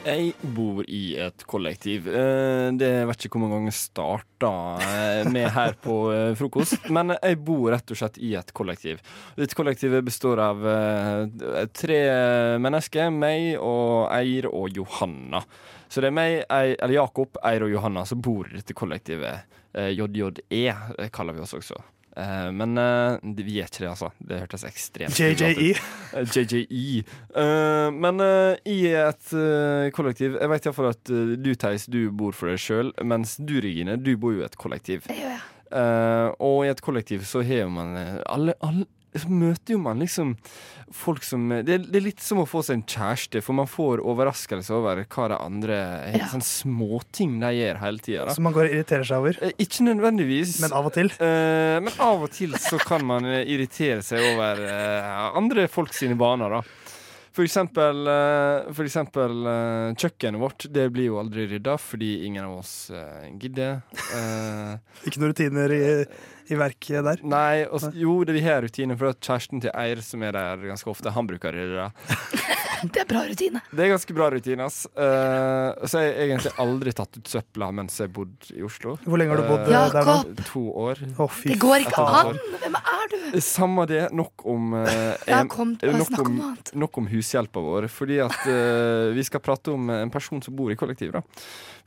Jeg bor i et kollektiv. Eh, Det jeg vet ikke hvor mange ganger jeg starta eh, med her på eh, frokost, men jeg bor rett og slett i et kollektiv. Dette kollektivet består av eh, tre mennesker, meg og Eir og Johanna. Så det er meg, Eir, eller Jakob, Eir og Johanna som bor i dette kollektivet. Eh, JJE kaller vi oss også. Eh, Men eh, det- vi er ikke det, altså. Det hørtes ekstremt
JJE.
privat ut. Eh, JJE. Eh, men eh, i et eh, kollektiv Jeg vet iallfall at eh, du, Theis, du bor for deg sjøl, mens du, Regine, du bor jo i et kollektiv. Eh, og i et kollektiv så har jo man eh, alle, alle så møter jo man liksom folk som eh, det, er- det er litt som å få seg en kjæreste, for man får overraskelse over hva de andre ja. sånn småting de gjør hele tida.
Som man går og irriterer seg over.
Eh, Ikke nødvendigvis.
Men av og til.
Eh, men av og til så kan man eh, irritere seg over eh, andre folk sine vaner, da. For eksempel, eh, for eksempel eh, kjøkkenet vårt. Det blir jo aldri rydda fordi ingen av oss eh, gidder. Eh,
Ikke noen rutiner i, i verket der.
nei, og, s- jo, det vi har rutiner for at kjæresten til Eir, som er der ganske ofte, han bruker å rydde.
Det er bra rutine.
Det er ganske bra rutine, ass. Eh, så jeg har egentlig aldri tatt ut søpla mens jeg bodde i Oslo.
Hvor lenge har du bodd,
Eh,
eh, der nå?
To år.
Det går ikke an! Hvem er du?
Samme det. Nok om, eh,
Ja,
em-
kom,
eh, nok
snakk om
om,
noe
nok om hushjelpa vår. Fordi at eh, vi skal prate om en person som bor i kollektiv. Da.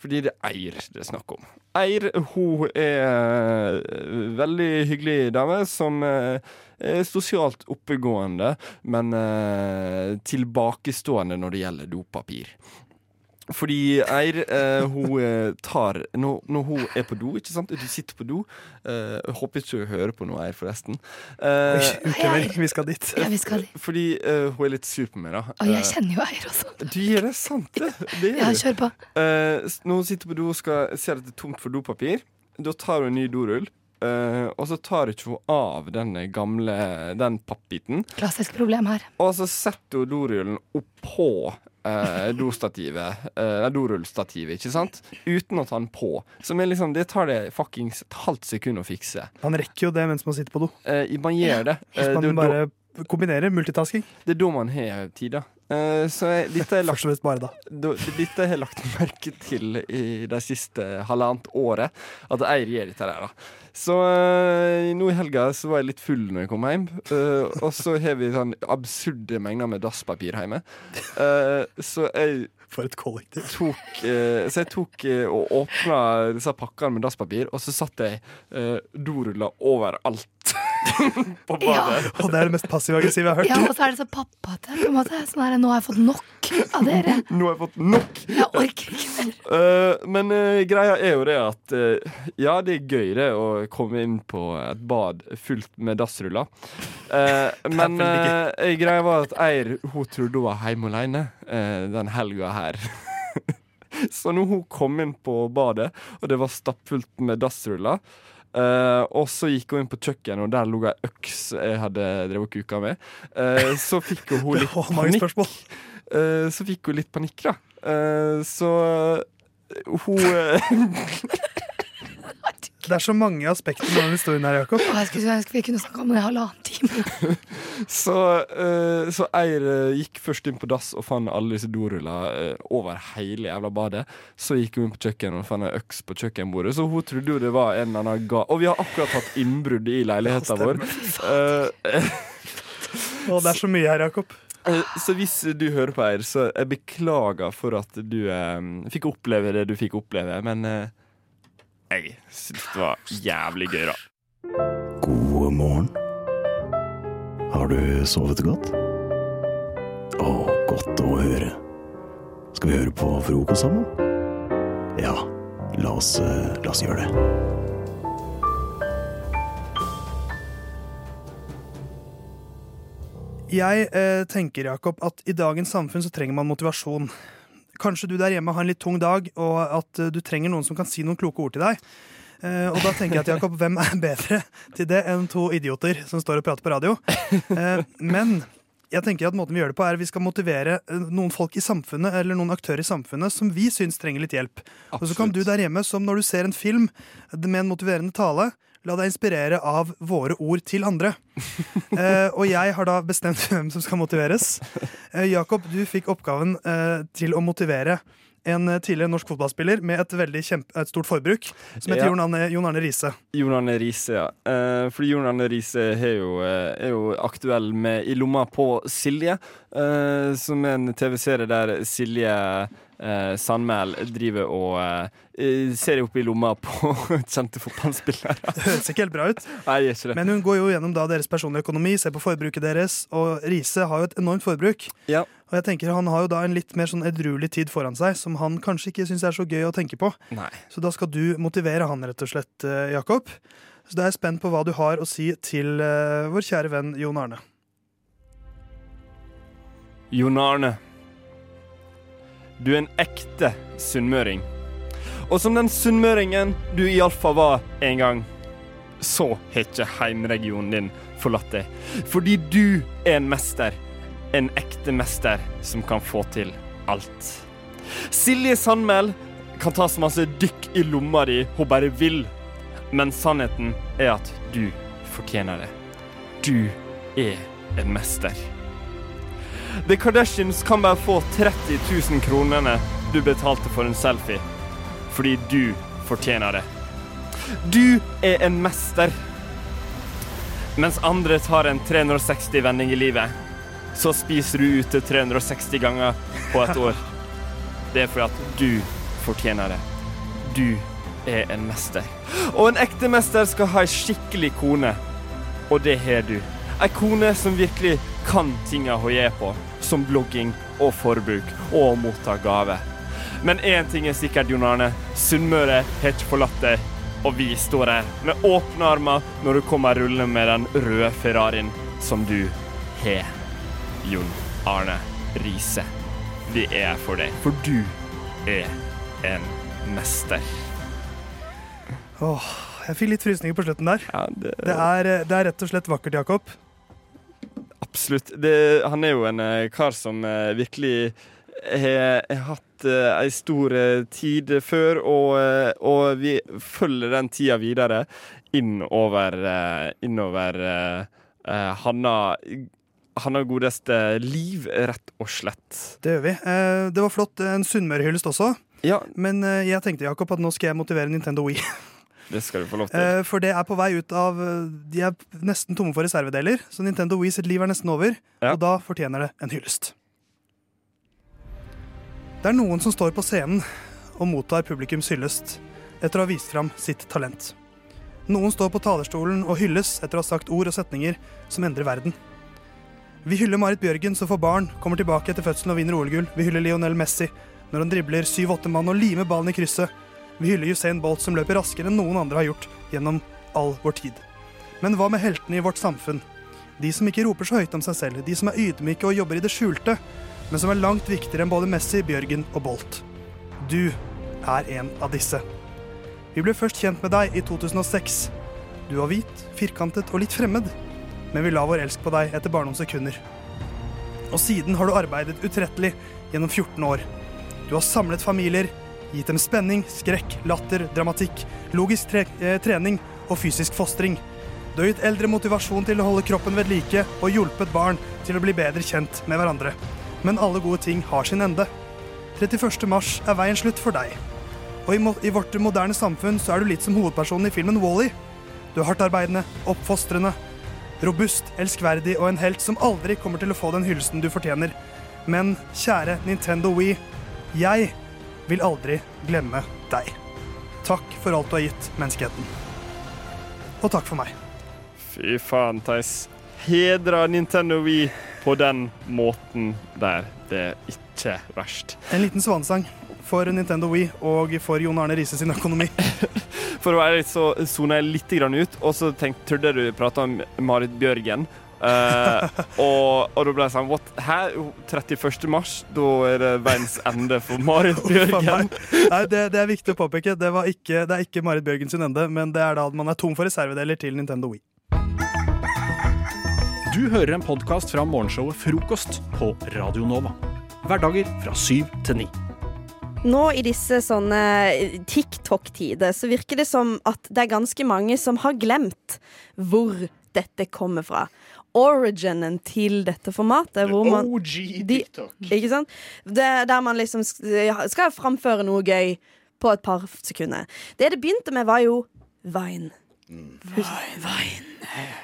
Fordi det er Eir det er snakk om. Eir hun er eh, veldig hyggelig dame som eh, eh, sosialt oppegående, men eh, tilbakestående når det gjelder dopapir. Fordi Eir, eh, hun eh, tar når, når hun er på do, ikke sant? Du sitter på do eh, jeg Håper ikke du hører på noe, Eir, forresten. Eh,
Oi, utover. Vi skal dit.
Ja, vi skal dit.
Fordi eh, hun er litt sur på meg, da. Eh,
Og jeg kjenner jo eier også.
Du gjør det, sant det? det
Ja, kjør på.
Eh, s- når hun sitter på do og skal, ser at det er tomt for dopapir, da tar hun en ny dorull. eh, og så tar ikke hun av den gamle den pappbiten.
Klassisk problem her.
Og så setter hun dorullen oppå eh, dostativet, eh, dorullstativet, ikke sant? Uten å ta den på. Som er liksom, det tar det fuckings et halvt sekund å fikse.
Man rekker jo det mens man sitter på do.
Eh, i- man gjør det. Eh,
Hvis
det er jo
man
da-
bare kombinerer multitasking.
det er da man har tid, da. Eh, Så jeg, dette er lagt,
Først og fremst bare da.
da- Dette har jeg lagt merke til i de siste halvannet året, at Eir gjør dette der, da. Så eh, nå i helga så var jeg litt full når jeg kom hjem, eh, og så har vi sånn absurde mengder med dasspapir hjemme. Eh, så jeg
For et kollektiv.
Tok, eh, så jeg tok eh, og åpna disse pakkene med dasspapir, og så satt jeg eh, doruller overalt på badet.
Og det er det mest passiv-aggressive jeg har hørt.
Ja, og så er det så pappate. På en måte. Sånn her, nå har jeg fått nok av dere.
Nå har jeg fått nok!
Jeg orker ikke mer.
Eh, men eh, greia er jo det at eh, Ja, det er gøy det å komme inn på et bad fullt med dassruller. Eh, men
veldig
eh, greia var at Eir hun trodde hun var hjemme alene eh, den helga her. Så når hun kom inn på badet, og det var stappfullt med dassruller eh, og så gikk hun inn på kjøkkenet, og der lå ei øks jeg hadde drevet og kuka med. eh, så fikk jo hun litt
Å, mange
panikk. Eh, så fikk hun litt panikk, da. Eh, så eh, hun eh,
Det er så mange aspekter med denne historien her, Jakob.
Å, jeg skulle ønske vi kunne snakke om det i halvannen time.
Så, eh, så Eir eh, gikk først inn på dass og fant alle disse doruller eh, over hele jævla badet. Så gikk hun inn på kjøkkenet og fant ei øks på kjøkkenbordet. Så hun trodde jo det var en eller annen ga... Og vi har akkurat hatt innbrudd i leiligheta vår. Eh,
Å, det er så mye her, Jakob.
eh, så hvis du hører på, Eir, så jeg beklager for at du eh, fikk oppleve det du fikk oppleve, men eh, jeg syns det var jævlig gøy, da.
God morgen. Har du sovet godt? Å, godt å høre. Skal vi høre på frokost sammen? Ja, la oss, eh, la oss gjøre det.
Jeg eh, tenker, Jakob, at i dagens samfunn så trenger man motivasjon. Kanskje du der hjemme har en litt tung dag, og at eh, du trenger noen som kan si noen kloke ord til deg. Eh, og da tenker jeg at Jakob, hvem er bedre til det enn to idioter som står og prater på radio? Eh, men jeg tenker at måten vi gjør det på er vi skal motivere eh, noen folk i samfunnet eller noen aktører i samfunnet som vi syns trenger litt hjelp. Og så kan du der hjemme, som når du ser en film med en motiverende tale, la deg inspirere av våre ord til andre. Eh, og jeg har da bestemt hvem som skal motiveres. Eh, Jakob, du fikk oppgaven eh, til å motivere en eh, tidligere norsk fotballspiller med et veldig kjempe, et stort forbruk, som heter
Ja.
Jon Arne, Jon Arne Riise.
Jon Arne Riise, ja. Eh, fordi Jon Arne Riise er jo, eh, er jo aktuell med I lomma på Silje, eh, som er en TV-serie der Silje eh, Sandmæl driver og eh, ser opp i lomma på kjente fotballspillere.
Høres ikke helt bra ut.
Nei, det gjør ikke det.
Men hun går jo gjennom da deres personlige økonomi, ser på forbruket deres, og Riise har jo et enormt forbruk.
Ja.
Og jeg tenker Han har jo da en litt mer sånn edruelig tid foran seg, som han kanskje ikke syns er så gøy å tenke på.
Nei.
Så da skal du motivere han, rett og slett, eh, Jakob. Så da er jeg spent på hva du har å si til eh, vår kjære venn Jon Arne.
Jon Arne. Du er en ekte sunnmøring. Og som den sunnmøringen du iallfall var en gang, så har ikke heimregionen din forlatt deg. Fordi du er en mester. En ekte mester som kan få til alt. Silje Sandmæl kan ta så masse dykk i lomma di hun bare vil. Men sannheten er at du fortjener det. Du er en mester. The Kardashians kan bare få 30 000 kronene du betalte for en selfie. Fordi du fortjener det. Du er en mester. Mens andre tar en 360-vending i livet, så spiser du ute 360 ganger på et år. Det er fordi at du fortjener det. Du er en mester. Og en ekte mester skal ha ei skikkelig kone. Og det har du. Ei kone som virkelig kan tinga hun gjør på, som blogging og forbruk og motta gave. Men én ting er sikkert, Jon Arne. Sunnmøre har ikke forlatt deg. Og vi står her med åpne armer når du kommer rullende med den røde Ferrarien som du har. Jon Arne Riise. Vi er her for deg, for du er en mester.
Åh, jeg fikk litt frysninger på slutten der.
det...
er, eh, det er rett og slett vakkert, Jakob.
Absolutt. Det, han er jo en eh, kar som eh, virkelig har har hatt eh, ei stor eh, tid før, og, eh, og vi følger den tida videre innover, eh, innover eh, eh, Hanna Hanna godeste liv, rett og slett.
Det gjør vi. Eh, Det var flott. En sunnmørehyllest også.
Ja.
Men eh, jeg tenkte Jakob, at nå skal jeg motivere Nintendo Wii.
Det skal du få lov til.
Eh, For det er på vei ut av eh, De er nesten tomme for reservedeler, så Nintendo Wii sitt liv er nesten over. Og da fortjener det en hyllest. Det er noen som står på scenen og mottar publikums hyllest etter å ha vist fram sitt talent. Noen står på talerstolen og hylles etter å ha sagt ord og setninger som endrer verden. Vi hyller Marit Bjørgen som får barn, kommer tilbake etter fødselen og vinner OL-gull. Vi hyller Lionel Messi når han dribler syv-åtte mann og limer ballen i krysset. Vi hyller Usain Bolt som løper raskere enn noen andre har gjort gjennom all vår tid. Men hva med heltene i vårt samfunn? De som ikke roper så høyt om seg selv, de som er ydmyke og jobber i det skjulte, men som er langt viktigere enn både Messi, Bjørgen og Bolt. Du er en av disse. Vi ble først kjent med deg i 2006. Du var hvit, firkantet og litt fremmed, men vi la vår elsk på deg etter bare noen sekunder. Og siden har du arbeidet utrettelig gjennom 14 år. Du har samlet familier, gitt dem spenning, skrekk, latter, dramatikk, logisk tre eh, trening og fysisk fostring. Du har gitt eldre motivasjon til å holde kroppen ved like og hjulpet barn til å bli bedre kjent med hverandre. Men alle gode ting har sin ende. 31. mars er veien slutt for deg. Og i, mo i vårt moderne samfunn så er du litt som hovedpersonen i filmen Wall-E. Du er hardtarbeidende, oppfostrende, robust, elskverdig og en helt som aldri kommer til å få den hyllesten du fortjener. Men kjære Nintendo Wii, jeg vil aldri glemme deg. Takk for alt du har gitt menneskeheten. Og takk for meg.
Fy faen, Theis. Hedra Nintendo Wii på den måten der. Det er ikke verst.
En liten svanesang for Nintendo Wii og for Jon Arne Riise sin økonomi.
For å være litt så sona jeg litt grann ut, og så tenkte trodde jeg du prata om Marit Bjørgen. Eh, og, og da ble jeg sånn What? Hæ? 31. mars? Da er det veiens ende for Marit Bjørgen.
Nei, det, det er viktig å påpeke. Det, var ikke, det er ikke Marit Bjørgen sin ende, men det er da man er tom for reservedeler til Nintendo Wii.
Du hører en podkast fra morgenshowet Frokost på Radio Nova. Hverdager fra syv til ni.
Nå i disse sånne eh, TikTok-tider så virker det som at det er ganske mange som har glemt hvor dette kommer fra. Originen til dette formatet. Hvor man,
OG
de- ikke sant? Det, der man liksom sk- skal framføre noe gøy på et par sekunder. Det det begynte med, var jo Vine. Hus Vine.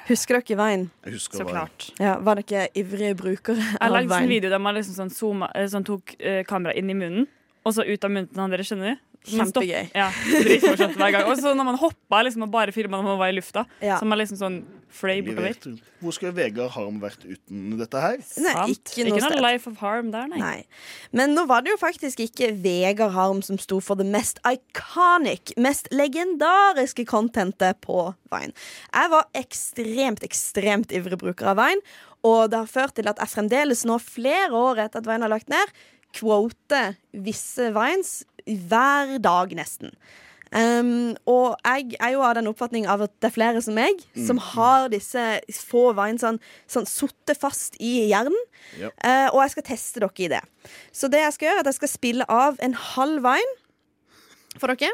Husker dere Vine?
Mm. Jeg husker
Så Vine. klart.
Ja, var dere ivrige brukere
Jeg
av
lagde sånn
Vine?
video der man liksom sånn, zooma, eh, sånn tok eh, kamera inn i munnen, og så ut av munnen til han dere skjønner. Så man stopp-
Kjempegøy.
Ja, dritmorsomt hver gang. Og så når man hoppa liksom, og bare filma når man var i lufta,
Ja.
så man liksom sånn fløy
Vi
bortover.
vet. Hvor skulle Vegard Harm vært uten dette her?
Nei, ikke noe sted.
Life of harm der, nei.
Men nå var det jo faktisk ikke Vegard Harm som sto for det mest iconic, mest legendariske contentet på Vine. Jeg var ekstremt, ekstremt ivrig bruker av Vine, og det har ført til at jeg fremdeles nå, flere år etter at Vine har lagt ned, quoter visse Vines hver dag nesten. Um, og jeg er jo av den oppfatning av at det er flere som meg, som har disse få Vines sånn, sånn sotte fast i hjernen.
Ja.
Eh, og jeg skal teste dere i det. Så det jeg skal gjøre, er at jeg skal spille av en halv vine for dere.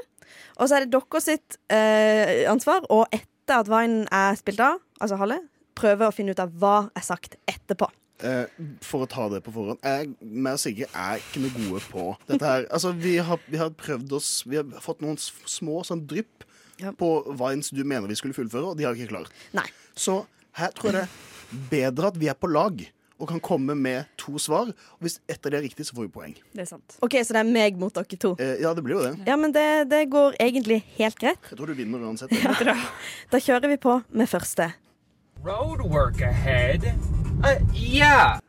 Og så er det dere sitt eh, ansvar, og etter at vinen er spilt av, altså halve, prøve å finne ut av hva er sagt etterpå.
Eh, for å ta det på forhånd Jeg mer sikkert er ikke noe gode på dette her. Altså, vi har, vi har prøvd oss Vi har fått noen s- små sånn drypp på Vines du mener vi skulle fullføre, og de har vi ikke klart.
Nei.
Så her tror jeg det er bedre at vi er på lag og kan komme med to svar. Og hvis ett av de er riktig, så får vi poeng.
Det er sant.
OK, så det er meg mot dere to.
Eh, ja, det blir jo det.
Ja, men det, det går egentlig helt greit.
Jeg tror du vinner uansett.
Da kjører vi på med første
road work ahead. Uh, yeah.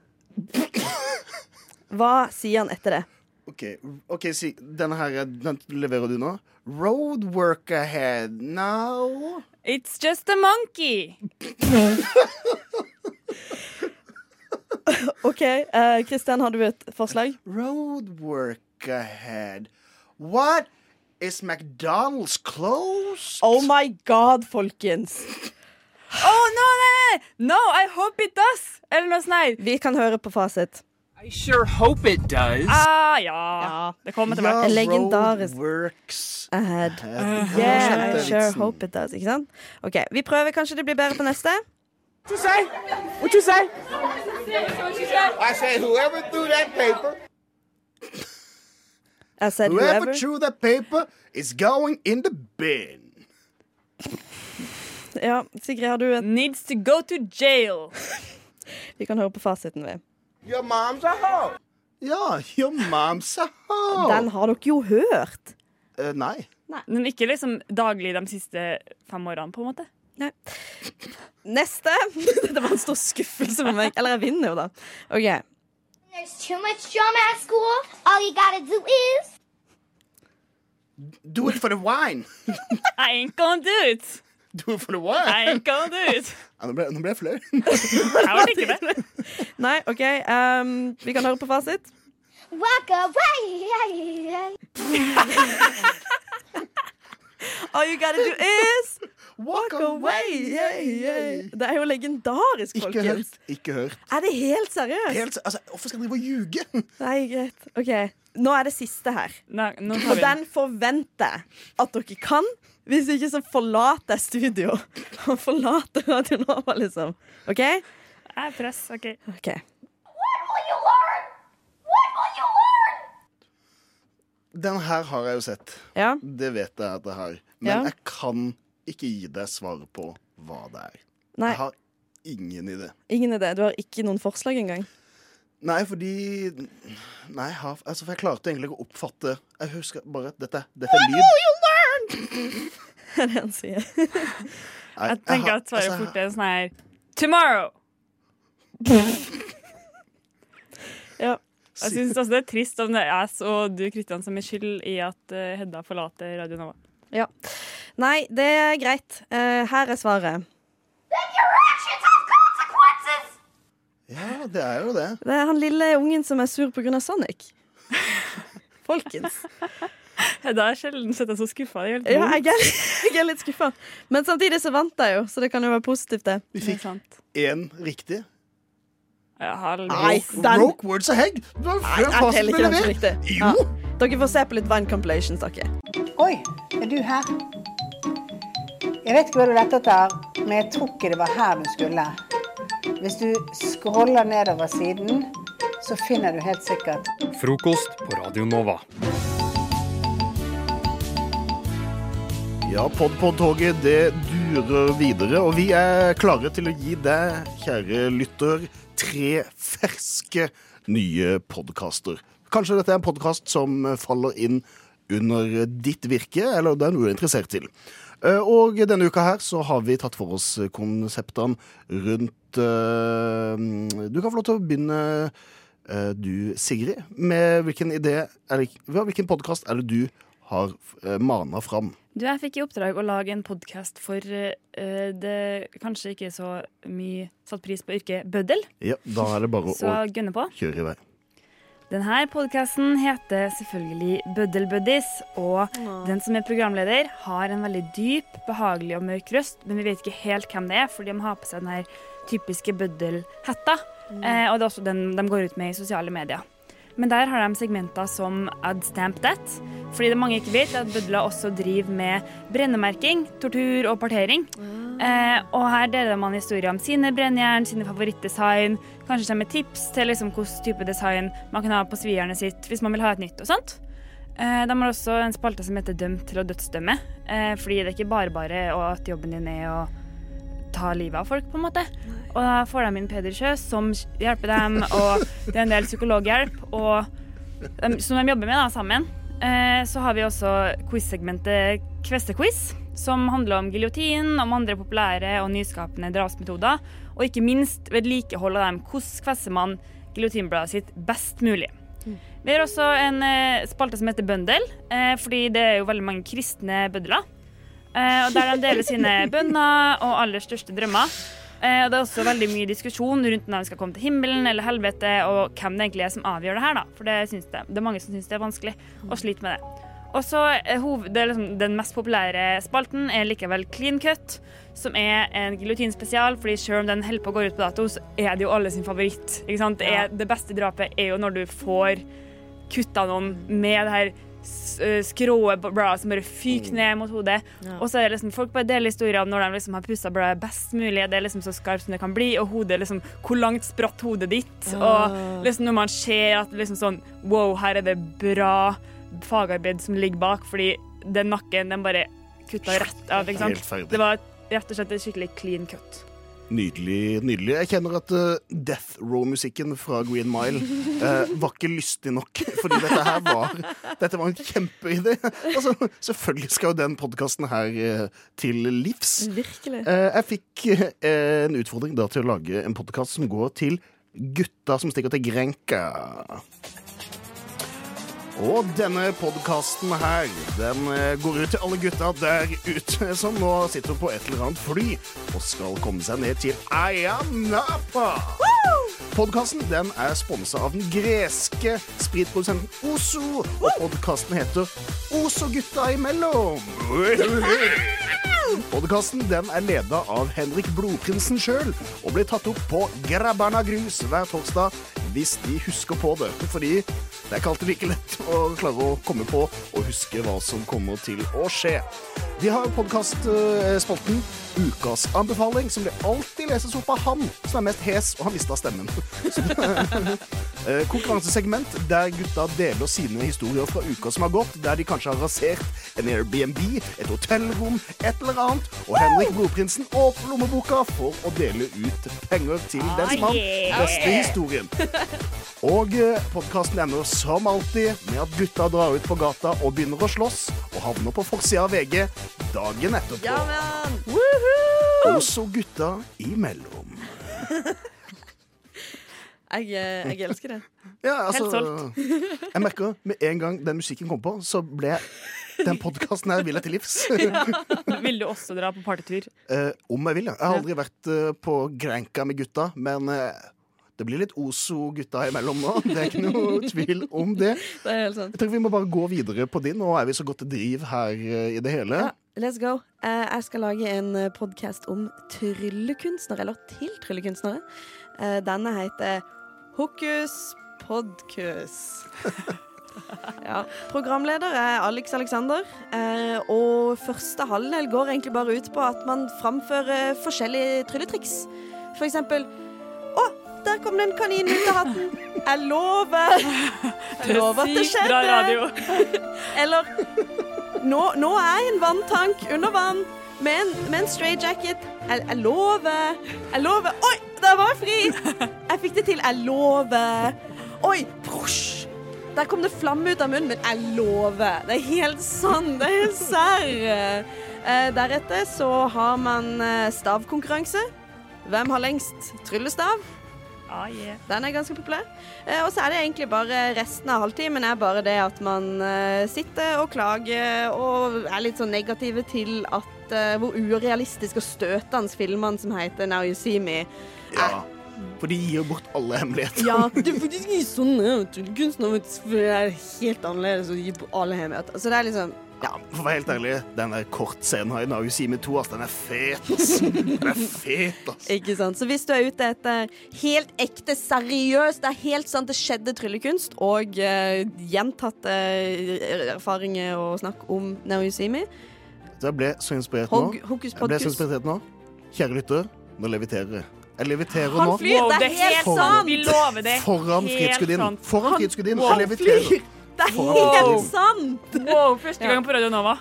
Hva sier han etter det?
OK, ok, si, denne her den leverer du nå. Road work ahead now.
It's just a monkey.
OK, eh, Kristian, har du et forslag?
Road work ahead. What is McDonald's closed?
Oh my god, folkens.
Oh, no, nei, nei! No, I hope it does! Eller noe sånt. her.
Vi kan høre på fasit.
I sure hope it does.
Ah, ja. Det kommer etter hvert.
Legendarisk.
Works
ahead.
Uh-huh.
ahead.
Yeah, I
Jeg skjønte
sure
vitsen.
hope it does. Ikke sant? OK, vi prøver. Kanskje det blir bedre på neste.
What you say? What you say?
I said, whoever threw that paper,
I said
whoever,
whoever.
threw that paper is going in the bin.
Ja, Sigrid, har du en
Needs to go to jail.
Vi kan høre på fasiten ved.
your mom's a hoe.
Ja, your mom's a hoe.
Den har dere jo hørt.
Eh, nei.
Men ikke liksom daglig de siste fem årene, på en måte.
Neste. Dette var en stor skuffelse for meg. Eller jeg vinner jo, da. OK.
There's too much drama at school. All you gotta do is.
Do it for the wine.
I ain't gonna do it.
Do it for the wine.
I ain't gonna do it.
Ja, nå ble nå ble jeg flau.
Nei, OK. ehm, vi kan høre på fasit.
Walk away.
All you gotta do is walk away. Yeah, yeah. Det er jo legendarisk,
Ikke
folkens.
hørt. Ikke hørt.
Er det helt seriøst?
Helt, altså, hvorfor skal jeg drive og ljuge?
Nei, greit. OK. Nå er det siste her.
nå tar
Og
vi den.
den forventer jeg at dere kan. Hvis ikke, så forlater jeg studio. Og forlater Radio Nova, liksom. OK?
Jeg er press, OK.
OK.
Den her har jeg jo sett. Det vet jeg at jeg har. Men
Ja.
jeg kan ikke gi deg svar på hva det er.
Nei.
Jeg har ingen idé.
Ingen idé. Du har ikke noen forslag engang?
Nei, fordi Nei, jeg har, altså, for jeg klarte egentlig ikke å oppfatte Jeg husker bare at dette, dette er lyd.
er det han sier.
Nei,
Jeg tenker
har-
at svaret
altså, jeg-
fort er sånn her Tomorrow!
ja.
Jeg syns også det er trist om det er jeg og du Kristian som er skyld i at eh, Hedda forlater Radio Nova.
Ja. Nei, det er greit. Eh, her er svaret.
Ja, det er jo det.
Det er han lille ungen som er sur pga. Sonic. Folkens.
Hedda er sjelden sett deg så skuffa. Det er helt
Ja,
vondt.
jeg er, jeg er litt skuffa. Men samtidig så vant jeg jo, så det kan jo være positivt, det.
Vi fikk én riktig.
Nei,
Roke-
den-
Roke words ahead. Det var
Nei,
før
jeg
fasen
teller
ble
ikke den som
levert.
riktig. Ja. Dere får se på litt Vine Compilations, dere.
Oi, er du her? Jeg vet ikke hva du lette etter, men jeg tror ikke det var her du skulle. Hvis du scroller nedover siden, så finner du helt sikkert
Frokost på Radio Nova.
Ja, Podpod-toget det durer videre, og vi er klare til å gi deg, kjære lytter, tre ferske nye podkaster. Kanskje dette er en podkast som faller inn under ditt virke, eller den du er interessert til. Eh, Og denne uka her så har vi tatt for oss konseptene rundt eh, Du kan få lov til å begynne, eh, du Sigrid, med hvilken idé eller, Hvilken podkast er det du har eh, mana fram?
Du, jeg fikk i oppdrag å lage en podkast for eh, det kanskje ikke så mye satt pris på yrket bøddel.
Ja, da er det bare
Så
å
gønne på.
kjøre i vei.
Denne podkasten heter selvfølgelig Bøddelbuddies, og den som er programleder, har en veldig dyp, behagelig og mørk røst, men vi vet ikke helt hvem det er, fordi de har på seg den her typiske bøddelhetta.
Mm.
Eh, og det er også den de går ut med i sosiale medier. Men der har de segmenter som Adstamp That, fordi det mange ikke vet, er at bødler også driver med brennemerking, tortur og partering. Eh, og her deler man historier om sine brennjern, sine favorittdesign. Kanskje kommer tips til liksom hvilken type design man kan ha på svigernet sitt hvis man vil ha et nytt. og sånt. Eh, de har også en spalte som heter Dømt til å dødsdømme. Eh, fordi det er ikke bare bare og at jobben din er å ta livet av folk, på en måte. Og da får de inn Peder Sjø, som hjelper dem, og det er en del psykologhjelp. Og de, som de jobber med da, sammen. Eh, så har vi også quiz-segmentet Kvestequiz, som handler om giljotin, om andre populære og nyskapende drapsmetoder, og ikke minst vedlikehold av dem. Hvordan kvesser man giljotinbladet sitt best mulig? Vi har også en eh, spalte som heter Bøndel, eh, fordi det er jo veldig mange kristne bøndler. Eh, og der de deler sine bønner og aller største drømmer. Eh, og det er også veldig mye diskusjon rundt når de skal komme til himmelen eller helvete, og hvem det egentlig er som avgjør det her, da. For det, syns det, det er mange som syns det er vanskelig og sliter med det. Og så er hoved, det er liksom, Den mest populære spalten er likevel Clean Cut, som er en giljotinspesial, fordi selv om den holder på å gå ut på dato, så er det jo alle sin favoritt. Ikke sant? Det, er, det beste drapet er jo når du får kutta noen med det her s- eh, skrået på bladet som bare fyker
Mm.
ned mot hodet.
Ja.
Og så er det liksom, folk bare deler historier om når de liksom har pussa bladet best mulig. Det er liksom så skarpt som det kan bli, og hodet er liksom Hvor langt spratt hodet ditt?
Ah.
Og liksom når man ser at liksom sånn Wow, her er det bra fagarbeid som ligger bak, fordi den nakken, den bare kutta rett av, ikke
Helt
sant?
ferdig.
Det var rett og slett et skikkelig clean cut.
Nydelig. nydelig. Jeg kjenner at eh, Death Row-musikken fra Green Mile eh, var ikke lystig nok. Fordi dette her var Dette var en kjempeidé. Altså, selvfølgelig skal jo den podkasten her eh, til livs.
Virkelig.
Eh, jeg fikk eh, en utfordring da til å lage en podkast som går til gutta som stikker til Grenka. Og denne podkasten her, den eh, går ut til alle gutta der ute som nå sitter på et eller annet fly og skal komme seg ned til Ayanapa. Podkasten den er sponsa av den greske spritprodusenten Ozo, og podkasten heter Ozo-gutta imellom. Podkasten den er leda av Henrik Blodprinsen sjøl og blir tatt opp på Grabberna Grus hver torsdag hvis de husker på det. Fordi det er ikke alltid like lett å klare å komme på og huske hva som kommer til å skje. De har eh, podkastspalten Ukas anbefaling, som det alltid leses opp av han som er mest hes, og han mista stemmen. Så- Eh, Konkurransesegment der gutta deler sine historier fra uka som har gått, der de kanskje har rasert en Airbnb, et hotellrom, et eller annet. Og Henrik Blodprinsen åpner lommeboka for å dele ut penger til den som har
yeah.
beste historien. Og podkasten ender som alltid med at gutta drar ut på gata og begynner å slåss, og havner på forsida av VG dagen etterpå.
Ja, men!
Og så gutta imellom.
Jeg, eh, jeg elsker det.
Ja, altså,
Helt solgt.
Jeg merker med en gang den musikken kom på, så ble jeg den podkasten her vil jeg til livs.
Vil du også dra på partytur?
Eh, om jeg vil, ja. Jeg har aldri vært eh, på Granka med gutta, men eh, det blir litt Ozo-gutta imellom nå. Det er ikke noe tvil om det.
Det er helt sant.
Jeg tror vi må bare gå videre på din. Nå er vi så godt driv her eh, i det hele.
Let's go. Eh, Jeg skal lage en podkast om tryllekunstnere, eller til tryllekunstnere. Eh, Denne heter Hokus podkus. Ja. Programleder er Alex Alexander, eh, og første halvdel går egentlig bare ut på at man framfører forskjellige trylletriks. For eksempel Å, der kom det en kanin ut av hatten! Jeg lover! Jeg lover at det
Sykt bra radio.
skjedde! Eller nå, nå er jeg en vanntank under vann med en, med en stray jacket. Jeg, jeg lover. Jeg lover. Oi, der var jeg fri! Jeg fikk det til. Jeg lover. Oi, prosj! Der kom det flamme ut av munnen min. Jeg lover. Det er helt sann. Det er helt serr. Eh, deretter så har man eh, stavkonkurranse. Hvem har lengst tryllestav? Den er ganske populær. Eh, og så er det egentlig bare resten av halvtimen er bare det at man eh, sitter og klager og er litt sånn negative til at eh, hvor urealistisk og støtende filmene som heter Now You See Me.
Ja. For de gir jo bort alle hemmeligheter.
Ja, det er faktisk ikke sånn eh, tryllekunstnere vet du, for det er helt annerledes og de gir på alle hemmeligheter. Så det er liksom ja.
For å være helt ærlig, den der kortscenen her i Now You See Me 2, ass, den er fet, ass. Den er fet, ass.
Ikke sant? Så hvis du er ute etter helt ekte, seriøst, det er helt sant det skjedde tryllekunst, og eh, gjentatte eh, erfaringer og snakk om Now You See Me,
Så jeg ble så inspirert nå.
Hog- hokus
Jeg ble så
pokus.
inspirert nå. Kjære lytter, nå leviterer jeg. Jeg leviterer
Han
nå.
flyr, Wow, det er det er helt
Foran-
sant. Vi lover det.
Foran
Helt
Fritidsgudinnen.
sant.
Foran Fritidsgudinnen.
Wow,
Jeg leviterer.
flyr. Det er
Foran
helt
Fritidsgudinnen.
sant! Mm.
Wow, første gang på Radio Nova.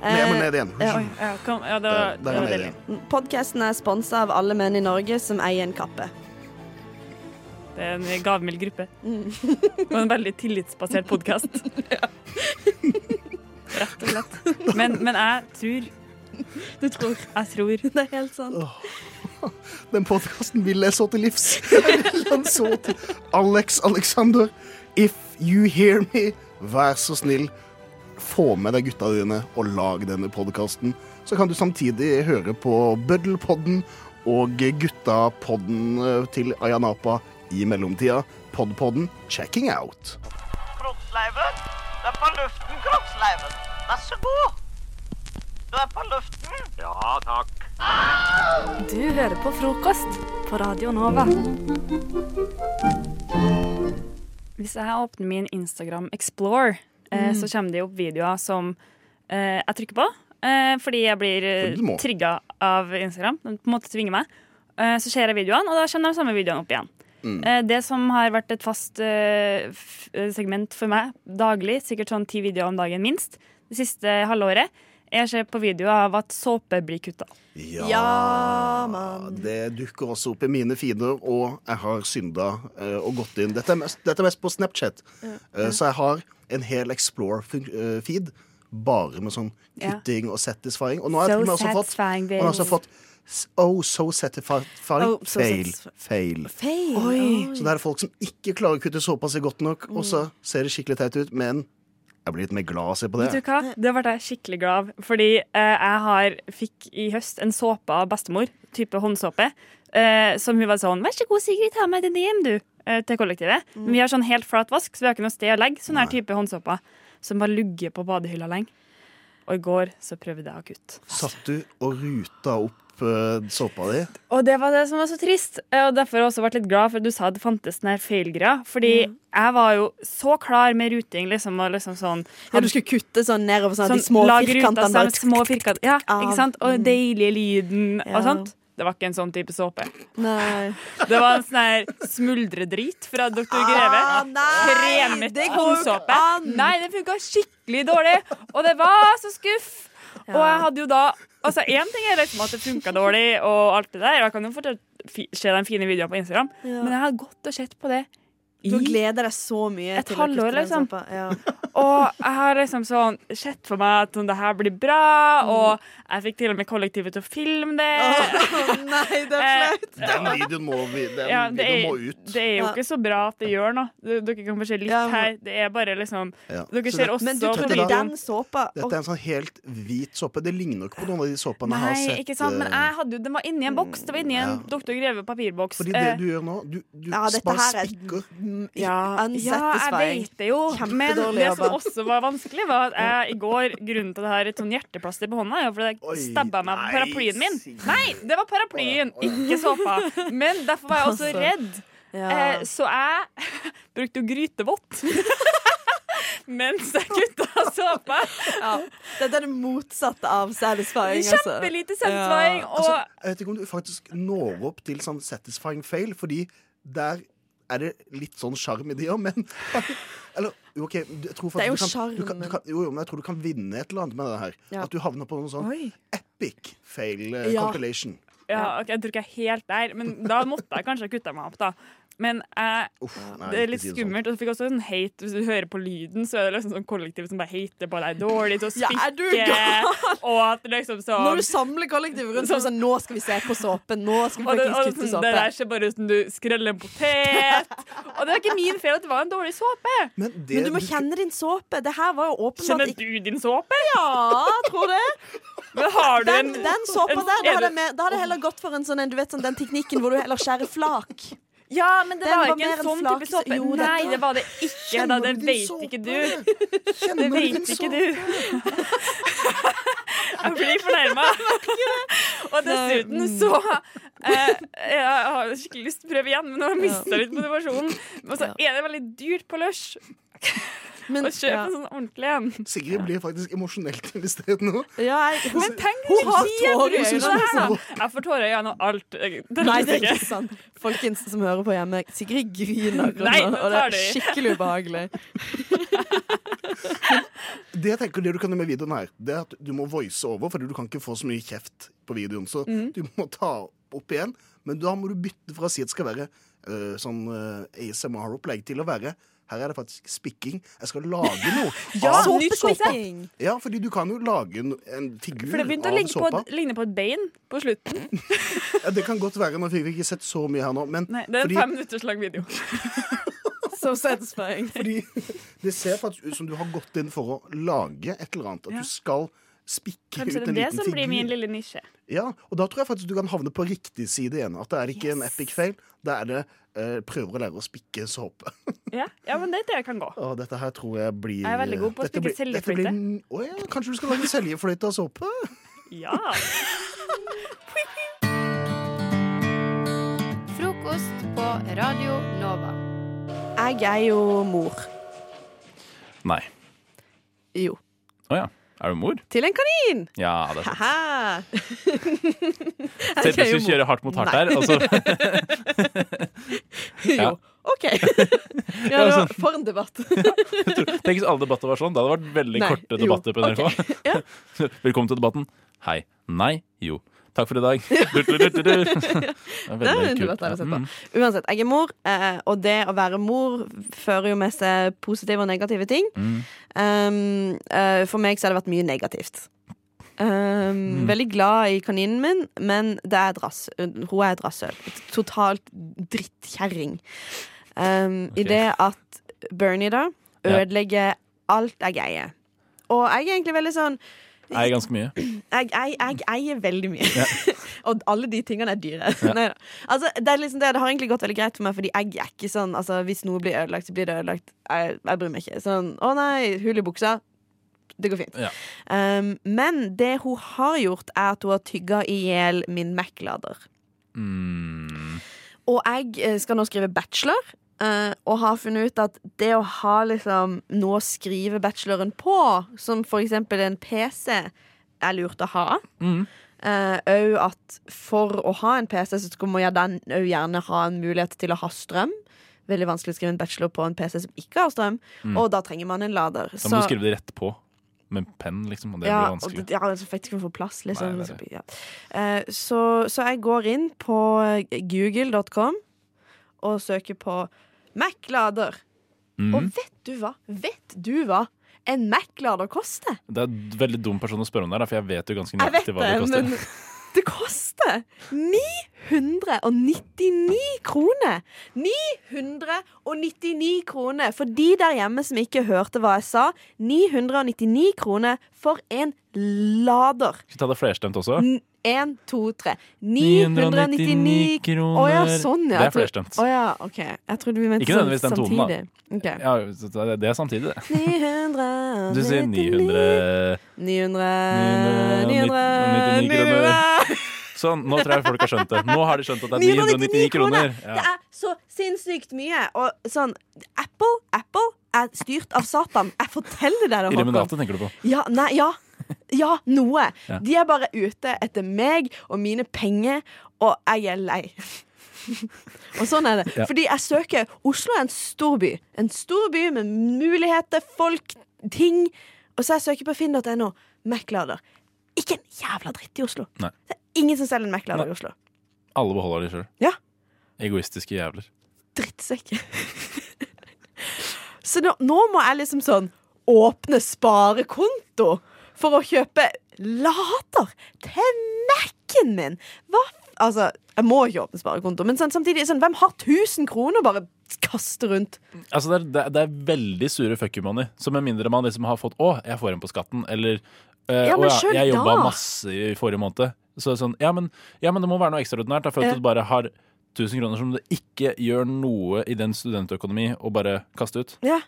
Men jeg må ned igjen.
Eh, oi.
Ja, kom, ja, det
Der
var,
der
det
er
var
jeg ned
deilig.
igjen.
Podcasten er sponset av alle menn i Norge som eier en kappe.
Det er en gavmild
Mm.
gruppe. Og en veldig tillitsbasert podkast. Rett og slett. Men, men jeg tror.
Du tror?
Jeg tror.
Det er helt sant.
Den podkasten vil jeg så til livs. Jeg vil han så til Alex Alexander, if you hear me, vær så snill, få med deg gutta dine og lag denne podkasten. Så kan du samtidig høre på Bøddelpodden og Guttapodden eh, til Ayanapa i mellomtida. Podpodden checking out.
Kroppsleiven. Du er på luften, kroppsleiven. Vær så god. Du er på luften. Ja, takk.
Du hører på frokost på Radio Nova.
Hvis jeg åpner min Instagram Explore, eh,
Mm.
så kommer det opp videoer som eh, jeg trykker på. Eh, fordi jeg blir
Fordi du må.
eh, trigga av Instagram. Den på en måte tvinger meg. Eh, så ser jeg videoene, og da kommer de samme videoene opp igjen.
Mm.
Eh, det som har vært et fast eh, f- eh, segment for meg daglig, sikkert sånn ti videoer om dagen minst, det siste halvåret, jeg ser på videoer av at såpe blir kutta.
Ja, Det dukker også opp i mine feeder, og jeg har synda eh, og gått inn. Dette er mest, dette er mest på Snapchat,
Ja.
Eh, så jeg har en hel Explore-feed eh, bare med sånn
Ja.
kutting og satisfying. Og nå har jeg
So
til og med også fått,
satisfying,
og jeg har også
baby.
fått s- Oh, so satisfying
Oh, so
fail.
satisfy-
fail.
Feil.
Så det er folk som ikke klarer å kutte såpass godt nok, og
Mm.
så ser det skikkelig teit ut, men jeg blir litt mer glad av å se på det.
Vet du hva? Det ble jeg skikkelig glad av. Fordi eh, jeg har, fikk i høst en såpe av bestemor, type håndsåpe, eh, som hun var sånn Vær så god, Sigrid, ta med den hjem, du, eh, til kollektivet.
Mm.
Men vi har sånn helt flat vask, så vi har ikke noe sted å legge sånn her type håndsåper. Som bare lugger på badehylla lenge. Og i går så prøvde jeg å kutte.
Satt du og ruta opp eh, såpa di?
Og det var det som var så trist. eh, Og derfor har jeg også vært litt glad for at du sa det fantes den her feilgreia. Fordi jeg var jo så klar med ruting, liksom, og liksom sånn
Ja, du skulle kutte sånn nedover sånn at de
Sånn,
små
lag ruta
firkantene
sammen,
bare
små firkant, Ja,
Av. Mm.
ikke sant? Og deilige lyden
Ja.
og sånt. Det var ikke en sånn type såpe.
Nei.
Det var en sånn her smuldredrit fra Dr. Greve.
Ah, nei,
Kremet
det går jo ikke
håndsåpe. Nei, det funka skikkelig dårlig. Og det var så skuff. Og jeg hadde jo da Altså, én ting er liksom at det funka dårlig, og alt det der. Og jeg kan jo fortsatt fi- se de fine videoene på Instagram.
Ja.
Men jeg hadde gått og sett på det i
Du gleder deg så mye
et
til å kutte
halvår,
den
liksom.
såpa. Ja.
Og jeg har liksom sånn sett for meg at sånn, det her blir bra, og jeg fikk til og med kollektivet til å filme det.
nei, det
er flaut.
Den videoen må, vi, den
Ja, det,
videoen må
er,
ut.
det er jo
Ja.
ikke så bra at det gjør noe. D- Dere kan få se litt her. Det er bare liksom
Ja.
Dere
Så
ser
det-
også
Men du tok
på
den
videoen.
såpa
Dette er en sånn helt hvit såpe. Det ligner jo ikke på noen av de såpene jeg har
Nei,
sett. eh,
ikke sant? Men jeg hadde jo, den var inni en boks. Det var inni en Dr. Greve papirboks. Eh,
Fordi det du gjør nå, du, du
Ja, dette
bare
her er-
spikker.
Ja, ja, jeg
unsatisfying.
vet det jo. Men
Kjempedårlig
det som
jobba.
også var vanskelig, var at jeg i går Grunnen til at jeg har et sånn hjerteplaster på hånda, er jo fordi jeg stabba meg på paraplyen min. Nei, det var paraplyen, ikke såpa. Men derfor var jeg også
Altså,
redd.
ja.
Eh, Så jeg brukte jo grytevott. Mens jeg kutta såpa.
Dette er det motsatte av satisfying. altså.
Kjempelite satisfying,
Ja.
Altså, jeg vet ikke om du faktisk når opp til sånn satisfying fail, fordi der er det litt sånn sjarm i det òg, men Eller jo, OK, du- jeg tror
Det er
faktisk
jo
du kan, du kan, du kan, Jo, jo, men jeg tror du kan vinne et eller annet med det her.
Ja.
At du havner på noen sånn
Oi.
epic fail eh,
Ja.
compilation.
Ja, ok, Jeg tror ikke jeg er helt der, men da måtte jeg kanskje ha kutta meg opp. da Men jeg,
nei,
det er
ikke
litt
si det sånn.
skummelt. Og så fikk jeg også en hate Hvis du hører på lyden, så er det liksom sånn kollektiv som bare hater på deg dårlig til å
Ja,
spikke.
er du gal?
og at liksom sånn
Når du samler kollektivet rundt så er det sånn Nå skal vi se på såpen. Nå skal
og
vi
det, og
faktisk
det,
kutte
det der
såpe.
ser bare ut som du skreller en potet. Og det var ikke min feil at det var en dårlig såpe.
Men,
Men du må kjenne din såpe. Det her var jo
Kjenner
åpenbart ikke
du din såpe?
Ja, tror det.
Men har du
Den,
en-
den såpa
en-
der, da
er
hadde,
det-
jeg med, da hadde jeg heller gått for en sånn en, du vet, sånn, den teknikken hvor du heller skjærer flak.
Ja, men det
Den
var
var
ikke
mer
en
en
sånn
flak-
type såpe.
Jo,
Nei,
dette-
det var det ikke. Da.
Kjenner
Det
du din
vet
såpe?
ikke du. Det
du din
vet ikke du. Jeg blir fornærma. Og dessuten så eh, Jeg har skikkelig lyst til å prøve igjen, men nå har jeg mista litt motivasjonen. Og så er det veldig dyrt på Lush å kjøpe
ja.
en sånn ordentlig en.
Sigrid blir faktisk emosjonelt investert nå.
Men tenk
Hun
deg
har
de
tårer i
brukene
øynene.
her, da. Jeg får tårer i øynene og alt. Det
Nei, det er ikke sant. Folkens som hører på hjemme, Sigrid griner
Nei,
akkurat
nå
nå, og det
tar
er
du i.
skikkelig ubehagelig.
Det jeg tenker det du kan gjøre med videoen her, Det er at du må voice over, Fordi du kan ikke få så mye kjeft på videoen. Så
Mhm.
du må ta opp igjen. Men da må du bytte fra å si at det skal være eh, sånn eh, ASMR-opplegg, til å være Her er det faktisk spikking. Jeg skal lage noe
Ja,
av
nytt spikking.
Ja, fordi du kan jo lage en, en figur
For det begynte å
av
ligge på,
såpa.
ligne på et bein på slutten.
Ja, det kan godt være. Nå fikk vi ikke sett så mye her nå, men
Nei, det er en
fordi
fem minutters lang video.
So satisfying.
Fordi det ser faktisk ut som du har gått inn for å lage et eller annet. At
Ja.
du skal spikke
Kanskje
ut
det
en
er det
liten
som blir
figur.
min lille nisje.
Ja, og da tror jeg faktisk du kan havne på riktig side igjen. At det er ikke en epic fail. Da er det eh, prøver å lære å spikke såpe.
Ja, ja men det er det jeg kan gå.
Og dette her tror jeg blir
Jeg er veldig god på å
dette
spikke
blir- dette blir-
seljefløyte.
Å ja, kanskje du skal lage seljefløyte av såpe?
Ja.
Frokost på Radio Nova.
Jeg er jo mor.
Nei.
Jo.
Å ja. Er du mor?
Til en kanin!
Ja, det er sant.
Ha-ha!
Selv om jeg skulle kjøre hardt mot hardt her, altså.
jo.
Ja.
OK.
Ja,
Ja,
sånn.
det var for en debatt.
Tenk hvis alle debatter var sånn. Da hadde det vært veldig
Nei,
korte
jo.
debatter på NRK. Velkommen til debatten. Hei. Nei. Jo. Takk for i dag. Dur-dur-dur-dur. Det er
Det er en
veldig kult.
debatt der å se på.
Mm.
Uansett, jeg er mor, eh, og det å være mor fører jo med seg positive og negative ting.
Mm.
Um, eh, for meg så har det vært mye negativt. Um,
Mm.
Veldig glad i kaninen min, men det er et rass, hun er et rasshøl. Et Totalt drittkjerring. Um, I det at Bernie, da,
Ja.
ødelegger alt jeg eier. Og jeg er egentlig veldig sånn
Eier ganske mye.
jeg, jeg, jeg eier veldig mye.
Ja.
og alle de tingene er dyre.
Ja.
Neida. Altså, det, er liksom det, det har egentlig gått veldig greit for meg, Fordi jeg er ikke sånn altså, Hvis noe blir ødelagt, så blir det ødelagt. Jeg, jeg bryr meg ikke. Sånn, å nei, hull i buksa. Det går fint.
Ja.
Um, men det hun har gjort, er at hun har tygga i hjel min Mac-lader.
Mm.
Og jeg eh, skal nå skrive bachelor, eh, og har funnet ut at det å ha liksom noe å skrive bacheloren på, som for eksempel en PC, er lurt å ha.
Mm.
Eh, Òg at for å ha en PC, så skal man ja, den òg gjerne ha en mulighet til å ha strøm. Veldig vanskelig å skrive en bachelor på en PC som ikke har strøm.
Mm.
Og da trenger man en lader.
Da må du skrive det rett på. Med penn, liksom. Og det
ja,
blir
og
vanskelig.
det- Ja, altså, for jeg kan få plass, liksom.
Nei, det er det.
ja. Eh, så, så jeg går inn på google.com og søker på Mac-lader.
Mhm.
Og vet du hva? Vet du hva en Mac-lader koster?
Det er en veldig dum person å spørre om det, her, for jeg vet jo ganske
Jeg vet
nøyaktig hva det
det,
koster.
men det koster 999 kroner! 999 kroner! For de der hjemme som ikke hørte hva jeg sa, 999 kroner for en lader.
Skal vi ta det flerstemt også?
N- En, to, tre. 999
kroner.
Å ja, sånn,
Det er
ja. Jeg tror-
flerstemt.
Å ja, ok. Jeg trodde vi mente
Ikke nødvendigvis den tonen, da.
samtidig. Ok.
Ja, så det- det er samtidig, det.
900
Du sier eh, 900
900 900
999 kroner. Sånn, nå tror jeg folk har skjønt det. Nå har de skjønt at det er 999 kroner.
Det
Ja.
er så sinnssykt mye. Og sånn Apple, Apple er styrt av Satan. Jeg forteller deg det, Håkon.
Illuminatet tenker du på.
Ja, nei, ja. Ja, noe.
Ja.
De er bare ute etter meg og mine penger, og jeg er lei. og sånn er det.
Ja.
Fordi jeg søker Oslo er en stor by. En stor by med muligheter, folk, ting. Og så jeg søker på finn.no. Mac-lader. Ikke en jævla dritt i Oslo.
Nei.
Ingen som selger en Mac-lader i Oslo.
Alle beholder de sjøl.
Ja.
Egoistiske jævler.
Drittsekk. så nå, nå må jeg liksom sånn åpne sparekonto for å kjøpe lader til Mac-en min. Hva f- Altså, jeg må ikke åpne sparekonto, men sånn, samtidig sånn, hvem har 1000 kroner bare kaste rundt?
Altså det, er, det, er, det er veldig sure fuck you money. Så med mindre man liksom har fått 'Å, jeg får en på skatten', eller eh,
Ja,
«Å
men
ja,
selv
jeg
da!»
jobba masse i forrige måned'. Så det er sånn, ja men, ja, men det må være noe ekstraordinært. Da, for
Ja.
at du bare har 1000 kroner som du ikke gjør noe i den studentøkonomi, og bare kaste ut.
Ja.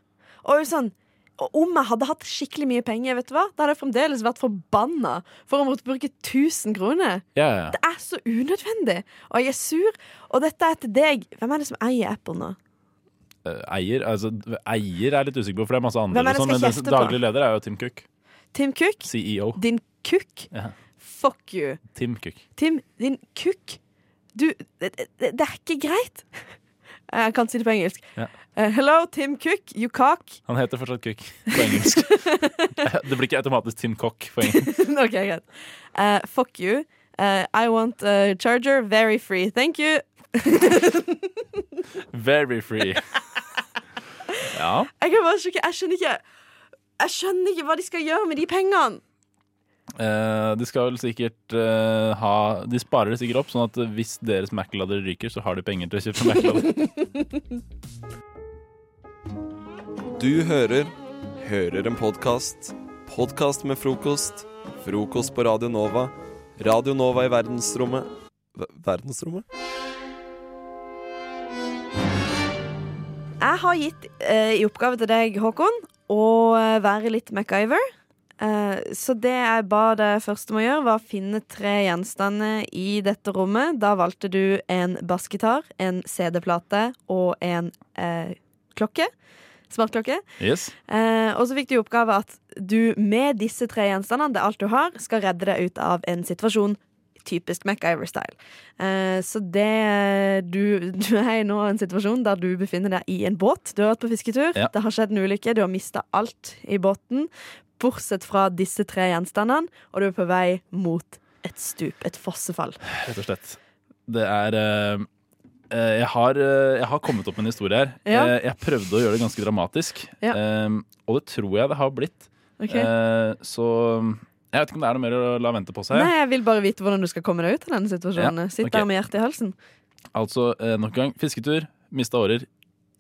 Og sånn og om jeg hadde hatt skikkelig mye penger, vet du hva? da hadde jeg fremdeles vært forbanna for å måtte bruke 1000 kroner.
Ja, ja,
Det
ja.
er så unødvendig, og jeg er sur. Og dette er til deg. Hvem er det som eier Apple nå?
Eh, Eier altså, eier er jeg litt usikker på, for det er masse andre.
Hvem er det
og sånn, men
som skal
den
kjefte på?
daglig leder er jo Tim Cook.
Tim Cook?
CEO.
Din kukk?
Ja.
Fuck you.
Tim Cook.
Tim, din kukk. Du, det, det, det er ikke greit. Jeg kan si det på engelsk.
Ja.
Eh, hello, Tim Cook, you cock.
Han heter fortsatt Cook på engelsk. det blir ikke automatisk Tim Cock på engelsk.
ok, greit. Eh, fuck you. Eh, I want a charger very free. Thank you.
Very free. Ja.
Jeg kan bare sjekke, jeg skjønner ikke Jeg skjønner ikke hva de skal gjøre med de pengene.
Eh, de skal vel sikkert eh, ha De sparer det sikkert opp, sånn at hvis deres Mac-lader ryker, så har de penger til å kjøpe Mac-lader.
Du hører Hører en podkast. Podkast med frokost. Frokost på Radio Nova. Radio Nova i verdensrommet Ver- Verdensrommet?
Jeg har gitt eh, i oppgave til deg, Håkon, å eh, være litt MacGyver. Eh, så det jeg ba deg først om å gjøre, var å finne tre gjenstander i dette rommet. Da valgte du en bassgitar, en CD-plate og en eh, klokke. Smartklokke.
Yes.
Eh, og så fikk du i oppgave at du med disse tre gjenstandene, det er alt du har, skal redde deg ut av en situasjon. Typisk MacGyver-style. Eh, så det du, du er i nå i en situasjon der du befinner deg i en båt. Du har vært på fisketur,
Ja.
det har skjedd en ulykke, du har mista alt i båten. Bortsett fra disse tre gjenstandene, og du er på vei mot et stup, et fossefall.
Rett og slett. Det er eh, eh, jeg, har, eh, jeg har kommet opp med en historie her.
Ja.
Eh, jeg prøvde å gjøre det ganske dramatisk,
Ja.
eh, og det tror jeg det har blitt.
Ok.
Eh, så jeg vet ikke om det er noe mer å la vente på seg.
Nei, jeg vil bare vite hvordan du skal komme deg ut av denne situasjonen.
Ja,
Sitt
ok.
der med hjertet i halsen.
Altså, eh, nok en gang, fisketur, mista årer.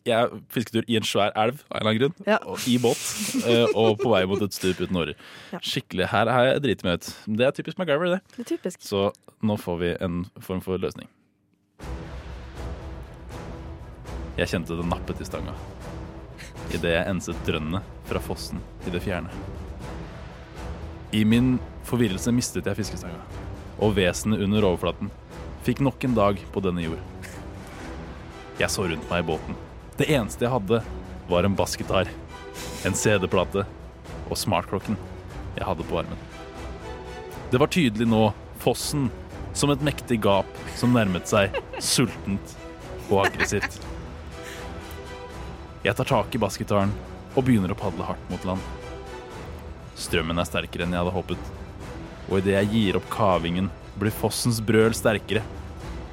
Jeg er fisketur i en svær elv av en eller annen grunn.
Ja.
Og, I båt. eh, og på vei mot et stup uten årer.
Ja.
Skikkelig. Her har jeg driti meg ut. Det er typisk MacGyver, det.
Det er typisk.
Så nå får vi en form for løsning. Jeg kjente det nappet i stanga idet jeg enset drønnene fra fossen i det fjerne. I min forvirrelse mistet jeg fiskestanga, og vesenet under overflaten fikk nok en dag på denne jord. Jeg så rundt meg i båten. Det eneste jeg hadde, var en bassgitar, en CD-plate og smartklokken jeg hadde på armen. Det var tydelig nå fossen som et mektig gap som nærmet seg sultent og aggressivt. Jeg tar tak i bassgitaren og begynner å padle hardt mot land. Strømmen er sterkere enn jeg hadde håpet, og idet jeg gir opp kavingen, blir fossens brøl sterkere,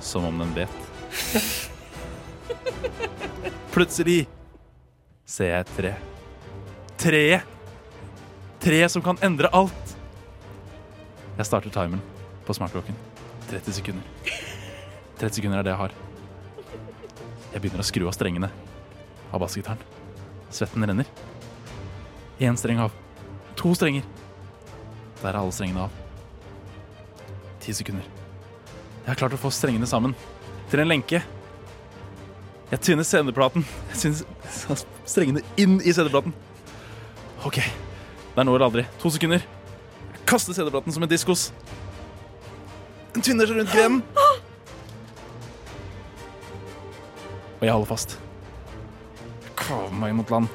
som om den vet. Plutselig ser jeg et tre. Treet! Treet som kan endre alt! Jeg starter timeren på smartklokken. 30 sekunder. 30 sekunder er det jeg har. Jeg begynner å skru av strengene av bassgitaren. Svetten renner. Én streng av. To strenger. Der er alle strengene av. Ti sekunder. Jeg har klart å få strengene sammen til en lenke. Jeg tynner CD-platen. Jeg synes strengene inn i CD-platen. OK. Det er nå eller aldri. To sekunder. Jeg kaster CD-platen som en diskos. Den tynner seg rundt grenen. Og jeg holder fast. Jeg kaver meg mot land.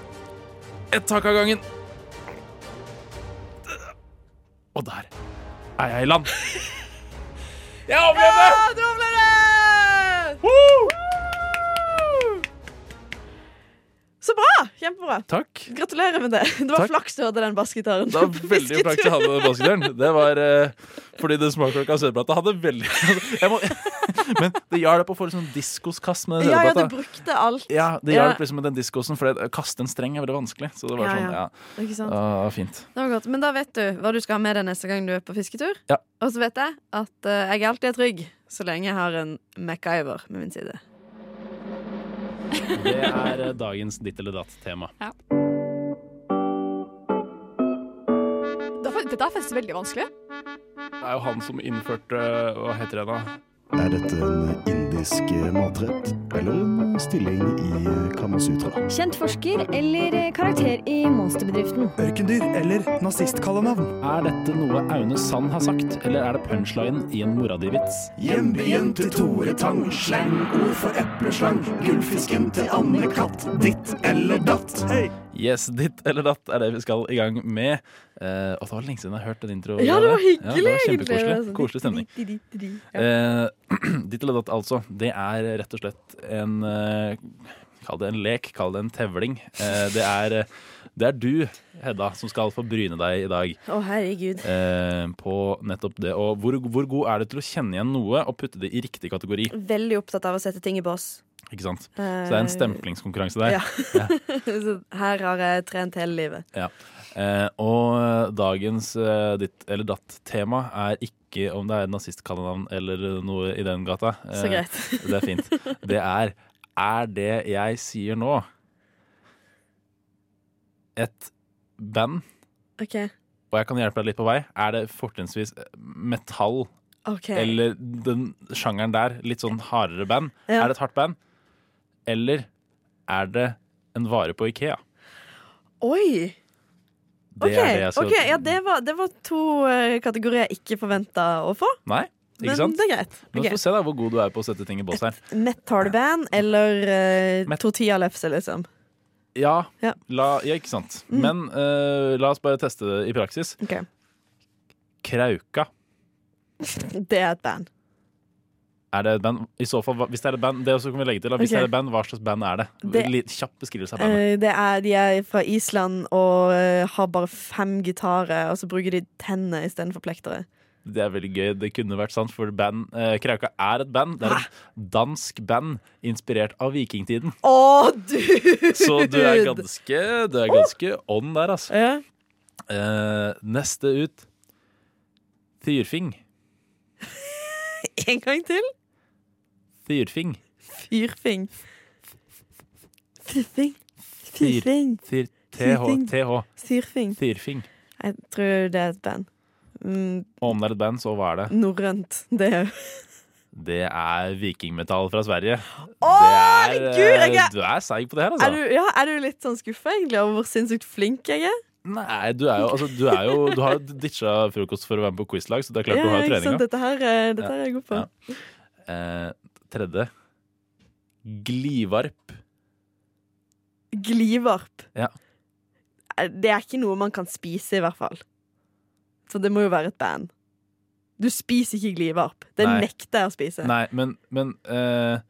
Ett tak av gangen. Og der er jeg i land. Jeg overlevde!
Ja, du overlevde! Så bra! Kjempebra.
Takk.
Gratulerer med det. Det var
Takk.
flaks du hadde den bassgitaren.
Det var veldig flaks jeg hadde basketøren. Det var eh, fordi det smaklokka CD-plata hadde veldig jeg må, Men det hjalp å få litt sånn diskoskast med den
Ja, ja, du
CD-plata.
brukte alt.
Ja, det
Ja.
hjalp liksom med den diskosen, for det- å kaste en streng er veldig vanskelig. Så det var
Ja,
sånn,
ja.
ja.
Ikke sant?
Ah, fint.
Det var godt. Men da vet du hva du skal ha med deg neste gang du er på fisketur.
Ja.
Og så vet jeg at eh, jeg alltid er trygg så lenge jeg har en MacGyver med min side.
Det er eh, dagens ditt eller datt-tema.
Dette er faktisk veldig vanskelig.
Det er jo han som innførte
eh,
Hva heter det da?
Er dette en indisk
eh,
matrett eller en stilling i Kamasutra?
Kjent forsker eller karakter i monsterbedriften?
Ørkendyr eller nazistkallenavn? Er dette noe Aune Sand har sagt, eller er det punchline i en mora di-vits?
Hjembyen til Tore Tang, slangord for epleslang. Gullfisken til Anne Katt, ditt eller datt.
Yes, ditt eller datt er det vi skal i gang med. Eh, og det var lenge siden jeg har hørt en intro.
Ja, det
Ja,
var
det
hyggelig,
var
egentlig. Det var
kjempekoselig.
sånn
Koselig stemning. Eh, ditt eller datt, altså. Det er rett og slett en eh, Kall det en lek, kall det en tevling. Eh, det, er, eh, det er du, Hedda, som skal få bryne deg i dag.
Å, herregud.
Eh, på nettopp det. Og hvor, hvor god er du til å kjenne igjen noe og putte det i riktig kategori?
Veldig opptatt av å sette ting i bås.
Ikke sant? Så det er en stemplingskonkurranse der.
Eh, Ja. Så Her har jeg trent hele livet.
Ja. Eh, og dagens eh, ditt eller datt-tema er ikke om det er nazistkallenavn eller noe i den gata. Eh,
Så greit.
det er fint. Det er Er det jeg sier nå, et band?
OK.
Og jeg kan hjelpe deg litt på vei. Er det fortrinnsvis eh, metall?
Ok.
Eller den sjangeren der, litt sånn hardere band?
Ja.
Er det et hardt band? Eller er det en vare på Ikea?
Oi!
Det
ok,
er det jeg skal
ok, ja, det, var, det var to eh, kategorier jeg ikke forventa å få.
Nei, ikke
Men
sant?
det er greit.
Men
Ok.
vi får se da hvor god du er på å sette ting i bås her.
Metal-band eller uh, tortillalefse, liksom.
Ja,
Ja.
la, ja ikke sant.
Mm.
Men eh, la oss bare teste det i praksis.
Ok.
Krauka.
Det er et band.
Er det et band? I så fall, hva- hvis det er et band, det også kan vi legge til. da. Hvis
Ok.
det er et band, hva slags band er det?
Det-
Litt kjapp beskrivelse av bandet.
Eh, det er, de er fra Island og eh, har bare fem gitarer, og så bruker de tennene istedenfor plektere.
Det er veldig gøy. Det kunne vært sant, for band, eh, Krauka er et band. Det er et dansk band inspirert av vikingtiden.
Å, dude!
Så du er ganske, du er ganske on der, altså.
Ja.
Eh, neste ut Fyrfing.
En gang til.
Fyrfing.
Fyrfing. Fyrfing.
Fyr-
Fyrfing.
fyr- TH.
Fyrfing.
TH.
Fyrfing.
Fyrfing.
Jeg tror det er et band. Mm,
Og om det er et band, så hva er det?
Norrønt. Det er jo
Det er vikingmetall fra Sverige.
Å,
Det er,
herregud! Jeg
eh,
er,
Du er seig på det her,
er, du,
altså.
ja, er du litt sånn skuffa, egentlig, over hvor sinnssykt flink jeg er?
Nei, du er jo, altså, du er jo Du har jo ditcha frokost for å være med på quizlag, så det er klart
Ja,
du har
ikke sant?
treninga.
Dette her, eh, dette
Ja,
her er jeg god på.
Eh, tredje Glivarp.
Glivarp.
Ja.
Eh, Det er ikke noe man kan spise, i hvert fall. Så det må jo være et band. Du spiser ikke glivarp. Det
Nei.
nekter jeg å spise.
Nei, men, men eh,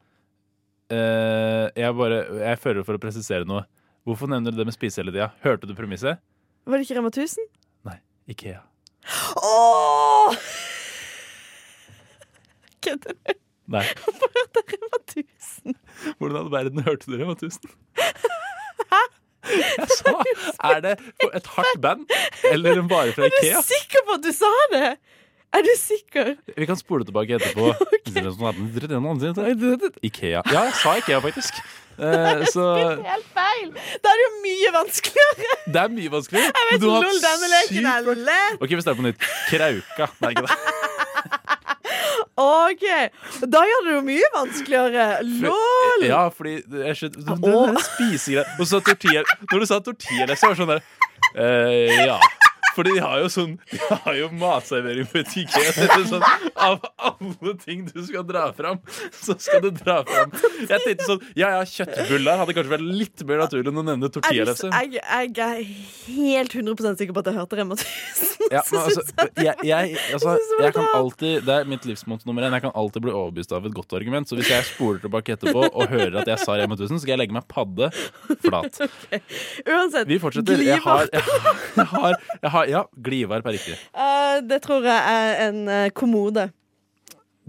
eh, Jeg bare Jeg føler for å presisere noe. Hvorfor nevner du det med spise hele tida? Hørte du premisset?
Var det ikke Rema 1000?
Ikea.
Åh! Kødder du?
Nei.
Hvorfor hørte jeg Rema 1000?
Hvordan i all verden hørte du Rema 1000? Jeg sa Er det et hardt band eller en vare fra
Er du
Ikea?
sikker på at du sa det? Er du sikker?
Vi kan spole tilbake etterpå. Ikea. Ja, jeg sa Ikea, faktisk. Eh, så
Helt feil! Da er det jo mye vanskeligere.
det er mye vanskeligere.
Jeg vet
Du har
lol, denne leken
sykt-
er lett.
OK, vi starter på nytt. Krauka. Nei, ikke det.
OK. Da gjør det jo mye vanskeligere. Lol!
Ja, fordi jeg skjønner Den der spisegreia Og så tortilla Når du sa tortillalefse, var det sånn der eh, Ja. Fordi de har jo sånn De har jo matservering på Ikea. Det er Sånn, av alle ting du skal dra fram, så skal du dra fram Jeg tenkte sånn Ja, ja, kjøttbuller hadde kanskje vært litt mer naturlig enn å nevne
Jeg,
tortillalefse.
jeg, jeg er helt 100 sikker på at jeg hørte Rema 1000.
Ja, men altså, jeg, jeg, altså, jeg kan alltid, det er mitt livsmotto nummer én. Jeg kan alltid bli overbevist av et godt argument. Så hvis jeg spoler tilbake etterpå og hører at jeg sa Rema 1000, så skal jeg legge meg padde flat.
Ok. Uansett,
Vi fortsetter. Jeg har, jeg har, jeg har, jeg har Ja, glivarp er riktig.
eh, det tror jeg er en eh, kommode.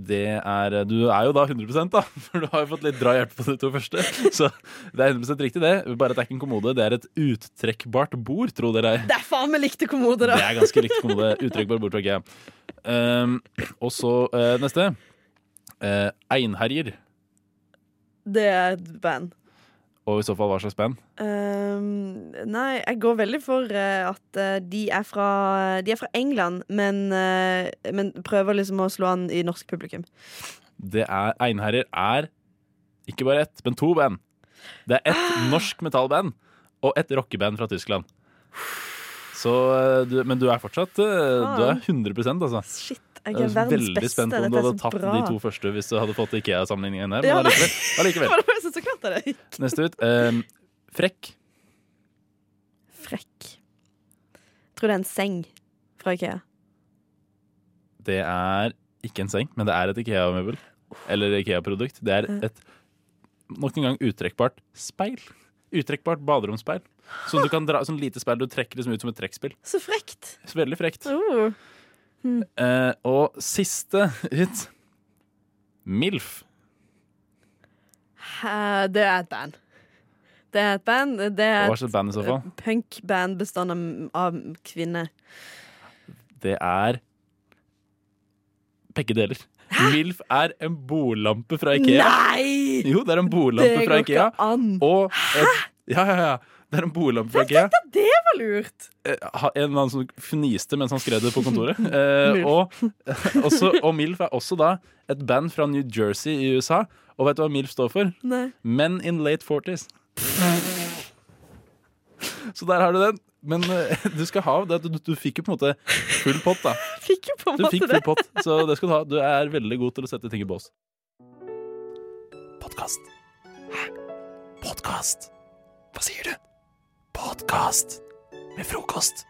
Det er, eh, du er jo da 100 da, for du har jo fått litt drahjelp på de to første. Så det er 100 riktig, det. Bare at det er ikke en kommode, det er et uttrekkbart bord, tro det eller ei.
Det er faen meg likte kommode, da.
Det er ganske likt kommode. Uttrykkbar borttak, ja. Um, og så eh, neste. Eh, Einherjer.
Det er et band.
Og i så fall hva slags band?
Ehm, nei, jeg går veldig for eh, at eh, de, er fra, de er fra England, men, eh, men prøver liksom å slå an i norsk publikum.
Det er Einherjer er ikke bare ett, men to band. Det er ett
Ah!
norsk metallband og ett rockeband fra Tyskland. Så, eh, du, men du er fortsatt eh, Du er 100 altså.
jeg er verdens
veldig spent på
beste.
om du
Dette er
hadde
så
tapt
bra.
de to første hvis du hadde fått Ikea-sammenligningen her. Men
Ja, nei.
allikevel. allikevel.
For det var så- så klart jeg det.
Neste ut. eh, frekk.
Frekk. Jeg tror det er en seng fra Ikea.
Det er ikke en seng, men det er et Ikea-møbel. Eller Ikea-produkt. Det er et nok en gang uttrekkbart speil. Uttrekkbart baderomsspeil. Sånn du kan dra, sånn lite speil du trekker liksom ut som et trekkspill.
Så frekt.
Så veldig frekt.
Oh. Hm.
Eh, og siste ut MILF.
eh, det er et band. Det er et band. Det er
Hva slags band i så fall?
eh, Punkband bestående av av kvinner.
Det er begge deler. Milf er en bordlampe fra Ikea.
Nei!
Jo, det er en bordlampe
Det
fra
går ikke
Ikea.
an.
Og et, ja, ja, ja. Det er en bordlampe fra Ikea.
Det var lurt!
Eh, ha- En eller annen som fniste mens han skrev det på kontoret. Eh, og, også, og Milf er også da et band fra New Jersey i USA. Og vet du hva Milf står for?
Nei.
Men in late 40s. Så der har du den. Men eh, du skal ha det. at Du, du fikk jo på en måte full pott, da.
Fikk jo på en
du
måte
fikk
det.
full pott, så det skal du ha. Du er veldig god til å sette ting i bås.
Podkast. Hæ? Podkast? Hva sier du? Podkast med frokost.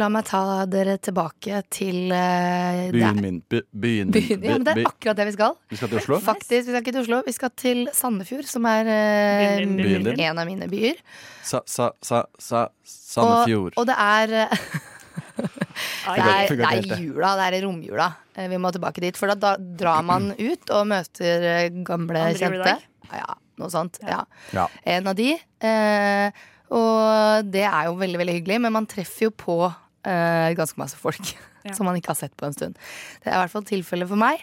La meg ta dere tilbake til eh, det er-
Byen min. By, byen min.
Byen, ja, men
By-
det er
by-
akkurat det vi skal.
Vi skal til Oslo?
Faktisk, vi skal ikke til Oslo. Vi skal til Sandefjord, som er eh,
Byen din. Byen din.
en av mine byer.
Sa, sa, sa, sa,
Og,
Sandefjord.
og det er eh, Det
Fungerer-
er, det
fungerer helt,
er
det.
jula, det er i romjula. Eh, Vi må tilbake dit. For da, da drar man ut og møter eh, gamle
Andre
kjente.
juledag.
Ja, noe sånt. Ja.
Ja.
En av de. Eh, og det er jo veldig, veldig hyggelig, men man treffer jo på eh, ganske masse folk
Ja.
som man ikke har sett på en stund. Det er i hvert fall tilfellet for meg.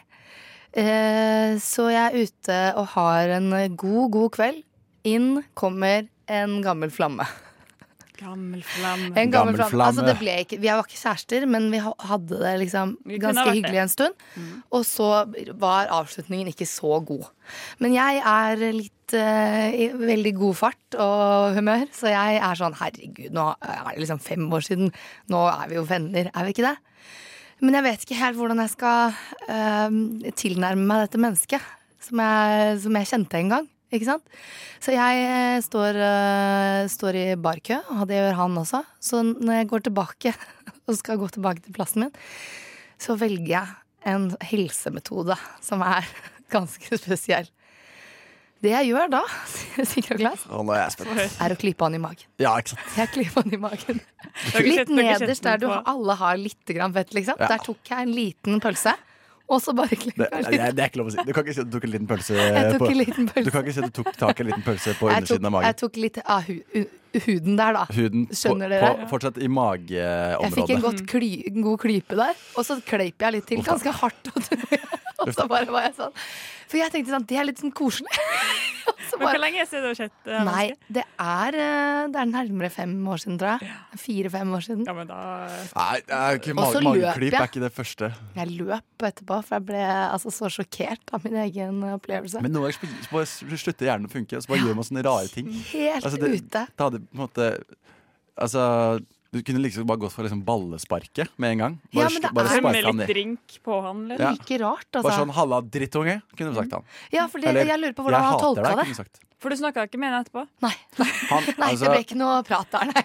Eh, så jeg er ute og har en god, god kveld. Inn kommer en gammel flamme.
Gammel flamme.
En gammel, flamme. Altså, det ble ikke, vi var ikke kjærester, men vi ha- hadde det liksom
Vi kunne ha
ganske
vært
hyggelig
det. Mm.
en stund. Og så var avslutningen ikke så god. Men jeg er litt eh, i veldig god fart og humør, så jeg er sånn herregud, nå er det liksom fem år siden. Nå er vi jo venner, er vi ikke det? Men jeg vet ikke helt hvordan jeg skal eh, tilnærme meg dette mennesket som jeg, som jeg kjente en gang. Ikke sant? Så jeg eh, står, eh, står i barkø, og det gjør han også. Så når jeg går tilbake og skal gå tilbake til plassen min, så velger jeg en helsemetode som er ganske spesiell. Det jeg gjør da, sier Sigrid Glass,
Oh,
Å, nå er jeg spent.
er å klype han i magen.
Ja, ikke sant.
Jeg klyper han i magen.
har ikke
Litt
sett- du har ikke sett
nederst der
den
du
på-
alle har litt grann fett, liksom.
Ja.
Der tok jeg en liten pølse, og så bare
Det, det,
klypa jeg
er-
litt.
det er ikke lov å si. Du kan ikke si at du tok en liten pølse
Jeg tok
på
en liten pølse.
Du kan ikke si at du tok tak i en liten pølse på
Jeg tok,
undersiden av
jeg
magen.
tok litt av hu, u- huden der, da.
Huden på,
Skjønner
på,
dere?
fortsatt i
jeg fikk en godt
mageområdet.
kly, en god klype der, og så kleip jeg litt til, ganske hardt. Og, og så bare var jeg sånn. For jeg tenkte sånn, det er litt sånn koselig. Og så
Men hvor lenge er det siden du har sett eh,
Nei, det er, eh, det er nærmere fem år siden, tror jeg. Fire-fem år siden.
Nei, det er ikke
Og så
mage,
løp
mageklyp
jeg.
er ikke det første.
Jeg løp etterpå, for jeg ble altså, så sjokkert av min egen opplevelse.
Men noen ganger så bare- så bare slutter hjernen å funke, og så bare gjør man sånne rare ting. Altså,
Helt
det,
ute.
det hadde på en måte Altså, du kunne liksom bare gått for liksom ballesparket med en gang. Bare,
Ja, men det
sl- bare
er-
sparket
Med
han
litt
ned.
Drink på han, liksom. eller?
Ja.
Ikke rart,
Bare
altså.
sånn 'halla, drittunge', kunne du sagt han.
Ja, for det,
Eller,
jeg lurer på
«Jeg
hvordan han
hater deg»,
tolka
kunne du
det.
sagt.
For du snakka ikke med henne etterpå?
Nei.
Han,
Nei,
altså,
det ble ikke noe prat der, nei.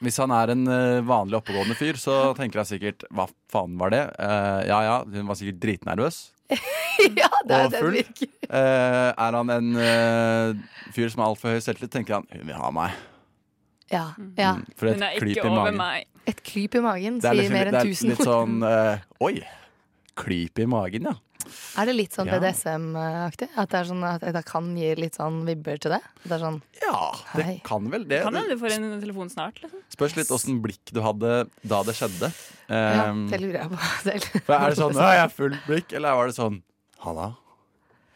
Hvis han er en eh, vanlig oppegående fyr, så tenker jeg sikkert 'hva faen var det'? Eh, ja ja, hun var sikkert dritnervøs.
ja, det er
og
det
full.
virker.
Eh, er han en eh, fyr som har altfor høy selvtillit, tenker han 'hun vil ha meg'.
Ja, ja.
for et Hun Mm. er ikke klyp i over magen. meg.
Et klyp i magen
Det er
sier
liksom-
mer
det
enn
er
tusen
litt
ord.
sånn eh, 'oi, klyp i magen', ja.
Er det litt sånn
Ja.
BDSM-aktig? At det er sånn at det kan gi litt sånn vibber til det? At Det er sånn
Ja, det kan vel det.
Kan hende du får en telefon snart. Liksom.
Spørs litt åssen blikk du hadde da det skjedde.
Ja,
Um,
det lurer jeg på selv.
for er det sånn 'Å, jeg er full blikk', eller var det sånn 'halla,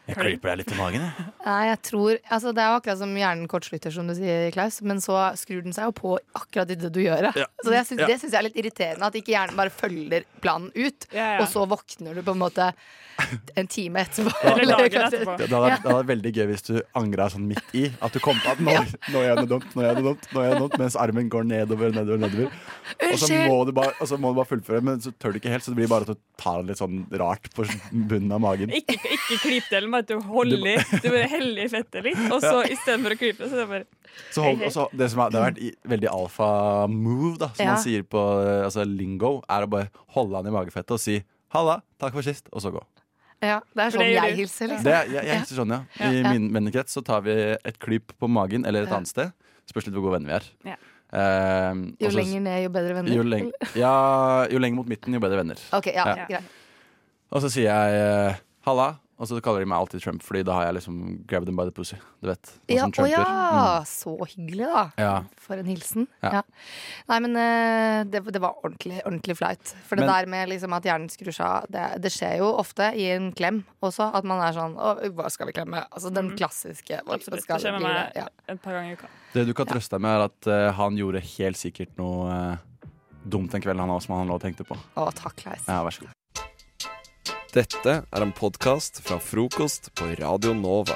jeg klyper deg litt i magen', jeg'.
Nei, jeg tror Altså, det er jo akkurat som hjernen kortslutter, som du sier, Klaus, men så skrur den seg jo på akkurat i det du gjør.
Ja.
Så jeg synes,
Ja.
det syns jeg er litt irriterende, at ikke hjernen bare følger planen ut, og så våkner du på en måte en time etterpå. kanskje-
Det, det, hadde,
Ja.
vært- det hadde vært veldig gøy hvis du angra sånn midt i. At du kom på at nå, nå gjør jeg noe dumt, nå gjør jeg noe dumt, nå gjør jeg noe dumt mens armen går nedover, nedover, nedover. Og så
Unnskyld!
må du bare, og så må du bare fullføre, men så tør du ikke helt, så det blir bare at du tar litt sånn rart på bunnen av magen.
Ikke, ikke klyp det, men at du holder i. Du bare heller i fettet litt, og så istedenfor å klype, så er det bare
Så hold, og så, det som er, det har vært i- veldig alfa move, da, som
Ja.
man sier på eh, altså, lingo, er å bare holde han i magefettet og si halla, takk for sist, og så gå.
Ja, det er
For
sånn
det gjør
jeg
du.
hilser, liksom.
Det, jeg, jeg hilser sånn, ja. I
Ja.
min vennekrets så tar vi et klyp på magen eller et
Ja.
annet sted. Spørs litt hvor gode venner vi er.
Ja.
Eh,
Jo
og så-
lenger ned, jo bedre venner.
Jo, leng ja, jo lenger mot midten, jo bedre venner.
Ok, ja,
Ja.
greit.
Og så sier jeg eh, halla, Og så kaller de meg alltid Trump, fordi da har jeg liksom grabbed them by the pussy. Du vet. noe
Ja,
som
å
Trump
ja,
gjør.
så hyggelig, da.
Mm. ja.
For en hilsen.
Ja.
Ja. Nei, men eh, det, det var ordentlig, ordentlig flaut. For det
Men-
der med liksom at hjernen skrur seg av, det, det skjer jo ofte i en klem også. At man er sånn Å, hva skal vi klemme? Altså den klassiske. hva- hva
Mm. Absolutt.
skal
Det skjer
vi
med
bli
meg
det? Ja.
et par ganger i uka.
Det du kan trøste deg med, er at eh, han gjorde helt sikkert noe eh, dumt den kvelden han også, som han lå og tenkte på.
Å, takk, Leis.
Ja, vær så god.
Dette er en podkast fra frokost på Radio Nova.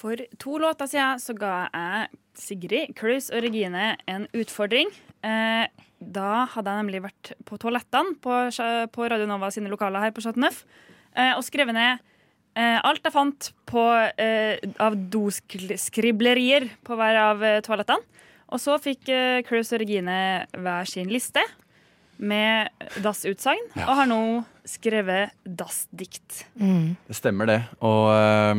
For to låter siden så ga jeg Sigrid, Klaus og Regine en utfordring. Eh, da hadde jeg nemlig vært på toalettene på, Sja- på Radio Nova sine lokaler her på Chateau Neuf eh, og skrevet ned eh, alt jeg fant på, eh, av doskrivlerier på hver av eh, toalettene. Og så fikk eh, Klaus og Regine hver sin liste med dassutsagn, og har nå skrevet dassdikt.
Mm.
Mm.
Det stemmer, det. Og eh,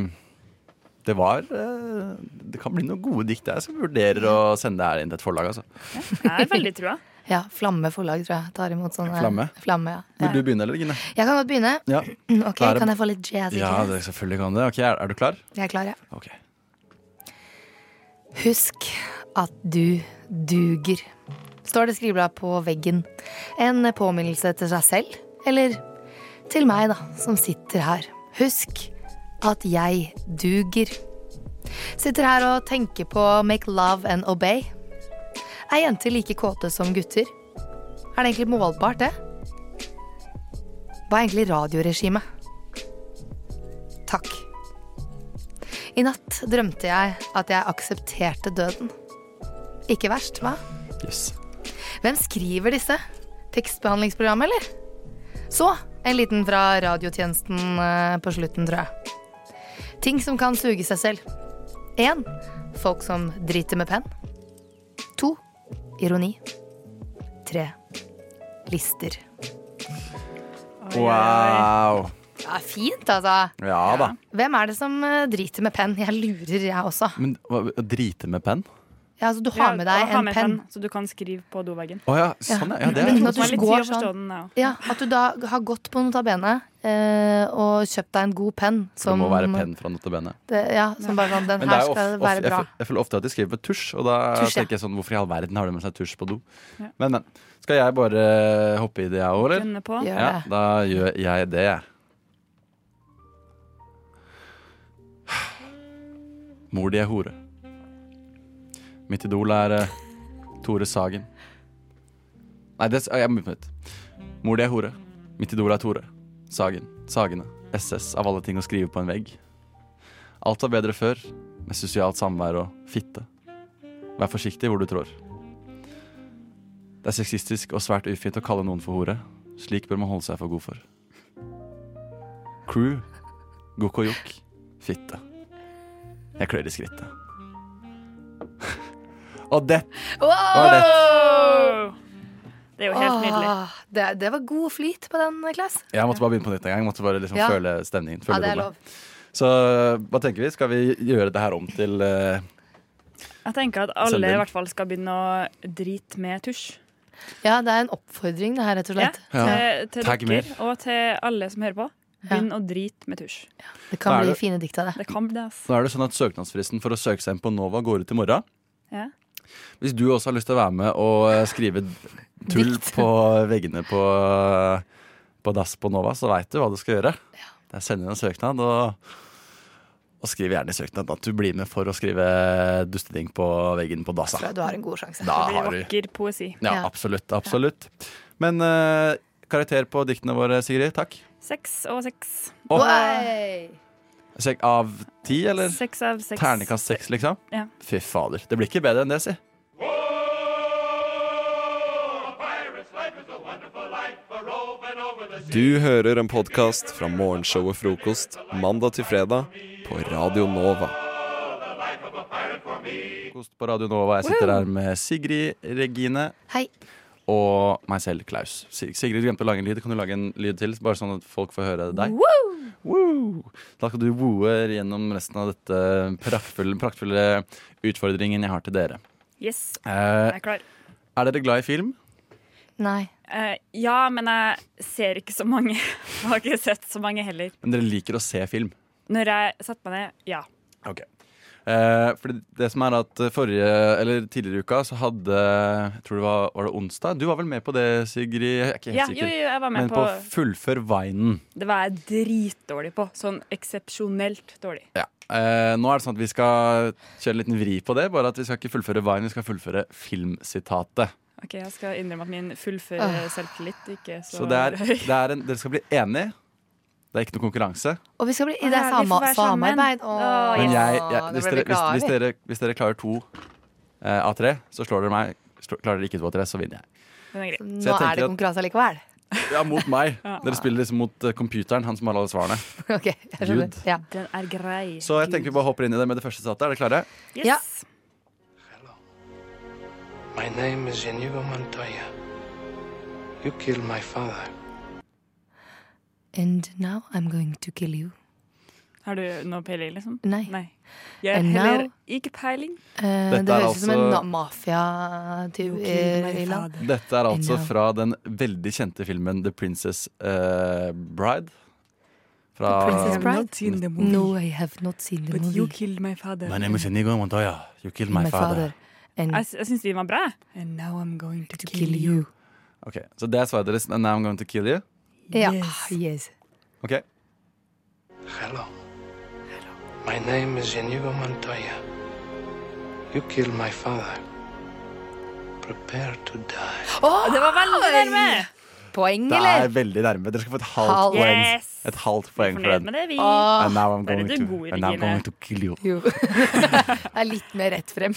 det var eh, Det kan bli noen gode dikt der. Jeg skal vurdere å sende det her inn til et forlag, altså.
Jeg er veldig trua.
Ja, Flamme forlag, tror jeg. Tar imot sånne
Flamme?
Flamme, ja.
Vil du begynne, eller, Gine?
Jeg kan godt begynne.
Ja.
Ok,
Da er det-
Kan jeg få litt jazz? ikke
Ja,
sant?
det, selvfølgelig kan det. Ok, Er, er du klar?
Jeg er klar, jeg.
Ok.
Husk at du duger. Står det skribla på veggen. En påminnelse til seg selv, eller til meg, da, som sitter her. Husk at jeg duger. Sitter her og tenker på Make love and obey. Er jenter like kåte som gutter? Er det egentlig målbart, det? Hva er egentlig radioregimet? Takk. I natt drømte jeg at jeg aksepterte døden. Ikke verst, hva?
Yes.
Hvem skriver disse? Tekstbehandlingsprogram, eller? Så en liten fra radiotjenesten eh, på slutten, tror jeg. Ting som kan suge seg selv. 1. Folk som driter med penn. 2. Ironi. 3. Lister.
Wow.
Det er fint, altså.
Ja da.
Hvem er det som eh, driter med penn? Jeg lurer, jeg også.
Men hva, å drite med penn?
Ja, altså, du har med
Ja,
deg
ha
en
med
penn.
Så du kan skrive på doveggen.
Å ja, sånn ja. ja det
Men
er
at du
Det er litt tid
går
å forstå
sånn-
den, ja.
Ja, at du da har gått på Notabene eh, og kjøpt deg en god penn.
Det må være penn fra notabene.
Det, ja, som bare sånn, den
Men det er
her
jo
skal
of- of-
være
jeg,
bra.
føl- jeg føler ofte at de skriver med tusj, og da
Tusj, ja.
tenker jeg sånn Hvorfor i all verden har de med seg tusj på do?
Ja.
Men, men. Skal jeg bare hoppe i det, jeg òg, eller?
Gunne på. Gjør
Ja,
det.
da gjør jeg det, jeg. Mor di er hore. Mitt idol er eh, Tore Sagen. Nei, det, s- jeg må begynne på nytt. Mor di er hore. Mitt idol er Tore. Sagen. Sagene. SS av alle ting å skrive på en vegg. Alt var bedre før, med sosialt samvær og fitte. Vær forsiktig hvor du trår. Det er sexistisk og svært ufint å kalle noen for hore. Slik bør man holde seg for god for. Crew, gokkojokk, fitte. Jeg klør i skrittet. og det var det.
Det er jo helt nydelig.
Åh, Det, det var god flyt på den, Klaus.
Jeg måtte bare begynne på nytt en gang. Jeg Måtte bare liksom
Ja.
føle stemningen.
Ja,
Føle
det er
rommet.
lov.
Så hva tenker vi? Skal vi gjøre det her om til eh,
Jeg tenker at alle
Send
i
inn.
hvert fall skal begynne å drite med tusj.
Ja, det er en oppfordring, det her, rett og slett.
Ja,
Ja.
Til,
Tagg
til
mer.
dere og til alle som hører på. Begynn å drite med tusj.
Det
Da
kan
er
bli
det-
fine dikt av det.
Det kan bli det, ass.
Nå er det sånn at søknadsfristen for å søke seg inn på Nova går ut i morgen.
Ja.
Hvis du også har lyst til å være med og eh, skrive tull på veggene på, eh, på dass på Nova, så veit du hva du skal gjøre. Det er Send inn en søknad, og, og skriv gjerne i søknaden at du blir med for å skrive dusteting på veggen på
Jeg tror
dassa.
jeg du har en god sjanse.
Da
Det
har
blir
du
vakker poesi.
Ja, absolutt. Absolutt. Men eh, karakter på diktene våre, Sigrid. Takk.
Seks og seks.
Åh.
Oi.
Sek av ti, eller?
Seks av seks.
Ternekast seks, liksom?
Ja.
Fy fader. Det blir ikke bedre enn det, si.
Du hører en podkast fra morgenshowet Frokost mandag til fredag på Radio Nova.
Frokost på Radio Nova. Jeg sitter her med Sigrid Regine.
Hei.
Og meg selv, Klaus. Sig- Sigrid glemte å lage en lyd. Kan du lage en lyd til? Bare sånn at folk får høre deg. Woo! Da skal du woe gjennom resten av dette praktfulle, praktfulle utfordringen jeg har til dere.
Yes.
Eh,
Jeg er klar.
er dere glad i film?
Nei.
Eh, ja, men jeg ser ikke så mange. Jeg har ikke sett så mange heller.
Men dere liker å se film?
Når jeg satte meg ned, ja.
Ok. Eh, for det, det som er at forrige, eller tidligere i uka så hadde Jeg tror det var, var det onsdag? Du var vel med på det, Sigrid? Jeg er ikke helt
Ja,
sikker.
jo, jo, jeg var med
Men på,
på-
Fullfør Vinen.
Det var jeg dritdårlig på. Sånn eksepsjonelt dårlig.
Ja. Eh, nå er det sånn at vi skal kjøre en liten vri på det. Bare at vi skal ikke fullføre Vine, vi skal fullføre filmsitatet.
Ok, Jeg skal innrømme at min fullføre selvtillit ikke så,
Så det er,
høy.
det er en, dere skal bli enige. Det er ikke noe konkurranse.
Og vi skal bli,
Å,
det er
ja, vi får
sama,
være sammen.
samarbeid. Åh,
Men jeg, jeg,
det
hvis,
ble
dere,
vi
hvis,
glad
hvis,
i.
dere, hvis dere klarer to eh, av tre, så slår dere meg. Slår, klarer dere ikke to av tre, så vinner jeg.
Den er grei.
Så jeg
Nå
tenker
er det
at-
konkurranse allikevel.
Ja, mot meg.
Ja.
Dere spiller liksom mot eh, computeren, han som har alle svarene.
Ok, jeg skjønner.
Gud.
Ja.
Den er grei.
Så jeg tenker vi bare hopper inn i det med det første sitatet. Er dere klare?
Yes. Ja.
My name is Inigo Montoya. You killed my father.
And now I'm going to kill you.
Har du noe peiling, liksom?
Nei.
Jeg
And
heller
now-
ikke peiling.
Eh,
Dette
det
er
høres ut som en
altså-
na- mafia-type
kill my
land.
Dette er altså
Ennå.
fra den veldig kjente filmen The Princess eh, Bride. Fra
Princess Bride?
seen the
No, I have not seen the movie.
killed my father.
My name is Inigo Montoya. You killed my, father.
And
Jeg, jeg syns den var bra. And now I'm going to, kill you.
Ok, Så det er svaret deres. And now I'm going to kill you.
Ja. Yes.
Ok
Hello. Hello. My name is Inigo Montoya. You killed my father. Prepare to die.
Å, det var veldig nærme!
Poeng,
Det
eller?
er veldig nærme. Dere skal få et halvt
Halvt.
poeng.
Yes.
Et halvt poeng for
Fornøyd
den.
med det, vi.
Åh.
And now I'm
Der er
going
du
to,
god,
and now I'm
Regine.
going to kill you.
Jo. det er litt mer rett frem.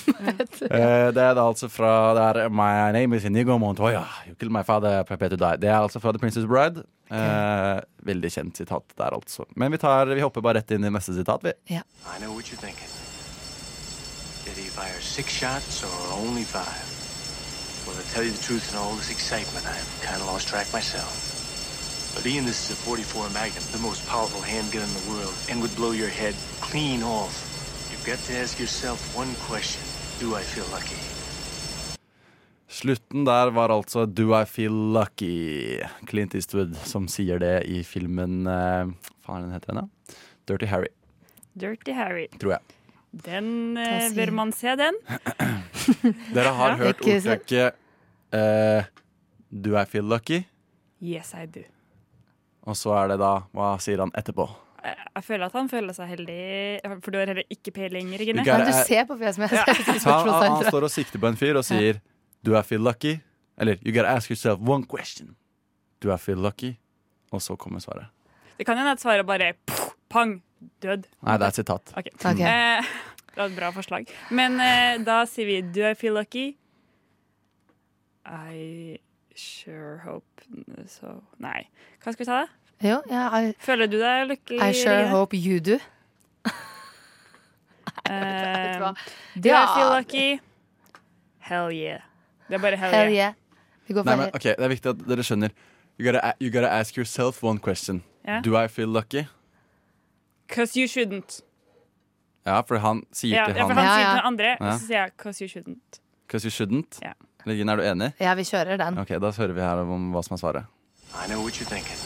Eh, det er da altså fra det er My name is Inigo Montoya. You killed my father. Prepare to die. Det er altså fra The Princess Bride. Eh, veldig kjent sitat der, altså. Men vi, tar, vi hopper bare rett inn i neste sitat, vi.
I know what you're thinking. Did he fire six shots or only five? Well, to tell you the truth, in all this excitement, I've kind of lost track myself. But Ian, this is a 44 Magnum, the most powerful handgun in the world, and would blow your head clean off. You've got to ask yourself one question. Do I feel lucky?
Slutten der var altså Do I Feel Lucky? Clint Eastwood som sier det i filmen eh, Faen, den heter den, da? Dirty Harry,
Dirty Harry.
tror jeg.
Den eh,
sier-
bør man se, den.
Dere har
Ja.
hørt
Ikke sant?
ordtaket eh, Do I Feel Lucky?
Yes, I do.
Og så er det da Hva sier han etterpå?
Jeg, jeg føler at han føler seg heldig, for du har heller ikke peiling, Regine.
Du Nei, du er-
Se på fjeset mitt.
Så han, han, han står og sikter på en fyr og sier Do I feel lucky? Eller You gotta ask yourself one question. Do I feel lucky? Og så kommer svaret.
Det kan hende at svaret bare pff, pang, død.
Nei, det er et sitat. Mm.
Ok.
Ok.
Eh, det var et bra forslag. Men eh, da sier vi Do I feel lucky? I sure hope so Nei. Hva skal vi ta, da?
Jo, ja, I,
Føler du deg lykkelig?
I sure
Rie?
hope you do.
Eh,
hva.
do I
Ja.
feel lucky? Hell yeah. Det er bare hell,
Hell
yeah.
yeah. Vi går
Nei,
for
men ok, Det er viktig at dere skjønner. You gotta, a- you gotta ask yourself one question.
Ja.
Do I feel lucky?
Cause you shouldn't.
Ja, for han sier
Ja,
til
ja,
han
for han sier til den andre, og
Ja.
så sier jeg cause you shouldn't.
Because you shouldn't.
Ja.
Regine, er du enig?
Ja, vi kjører den.
Ok, Da hører vi her om hva som er svaret.
I know what you're thinking.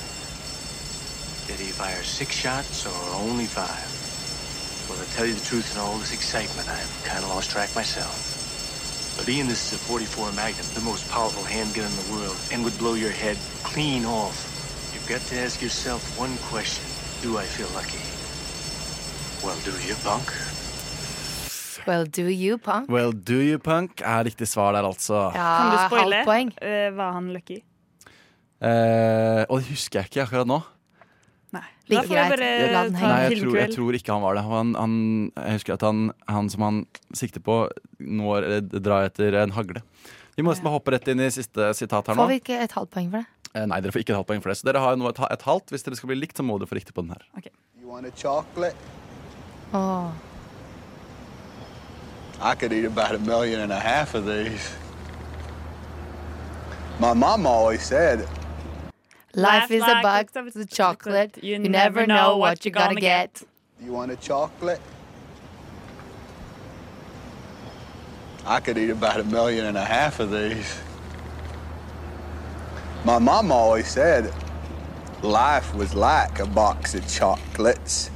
Did he fire six shots or only five? Well, to tell you the truth, in all this excitement, I've kind of lost track myself. But Ian, this is a 44 Magnum, the most powerful handgun in the world, and would blow your head clean off. You've got to ask yourself one question. Do I feel lucky? Well, do you, punk?
Well, do you, punk?
Well, do you punk? Er riktig svar der, altså.
Ja,
Kan du spoile?
Ah, halvt poeng.
Eh, var han lucky?
Eh, og det husker jeg ikke akkurat nå.
Da
Like
får vi
greit.
bare
La den
Nei,
ta en
jeg tror, jeg
filmkveld.
tror ikke han var det. Han, han, jeg husker at han, han som han sikter på, når, eh, drar etter en hagle. Vi må nesten bare hoppe rett inn i siste sitat her nå.
Får vi ikke et halvt poeng for det?
Eh, Nei, dere får ikke et halvt poeng for det. Så dere har jo nå et, ha- et halvt. Hvis dere skal bli likt, så må dere få riktig på den her.
You want a chocolate?
Åh.
I could eat about a million and a half of these. My mom always said,
Life is a
like
box of chocolate. You never know what you're gonna get.
You want a chocolate? I could eat about a million and a half of these. My mom always said life was like a box of chocolates.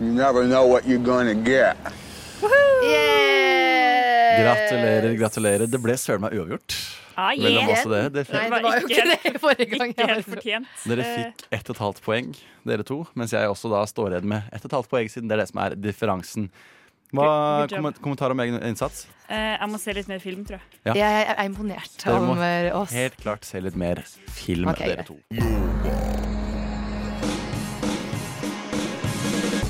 You never know what you're gonna get.
Gratulerer, gratulerer. Det ble søren meg uavgjort.
Eh, Ah, yeah.
Mellom oss og dere. Dere fikk,
det var jo ikke
helt-
det forrige gang. sånn.
Ikke helt fortjent.
dere
Eh,
fikk ett og et halvt poeng, dere to. Mens jeg også da står igjen med ett og et halvt poeng, siden det er det som er differansen. Hva,
Good- good job.
komment- kommentar om egen innsats?
eh, jeg må se litt mer film, tror jeg.
Ja.
Jeg er imponert
Dere må
over eh, oss.
helt klart se litt mer film,
Ok,
dere
greit.
to.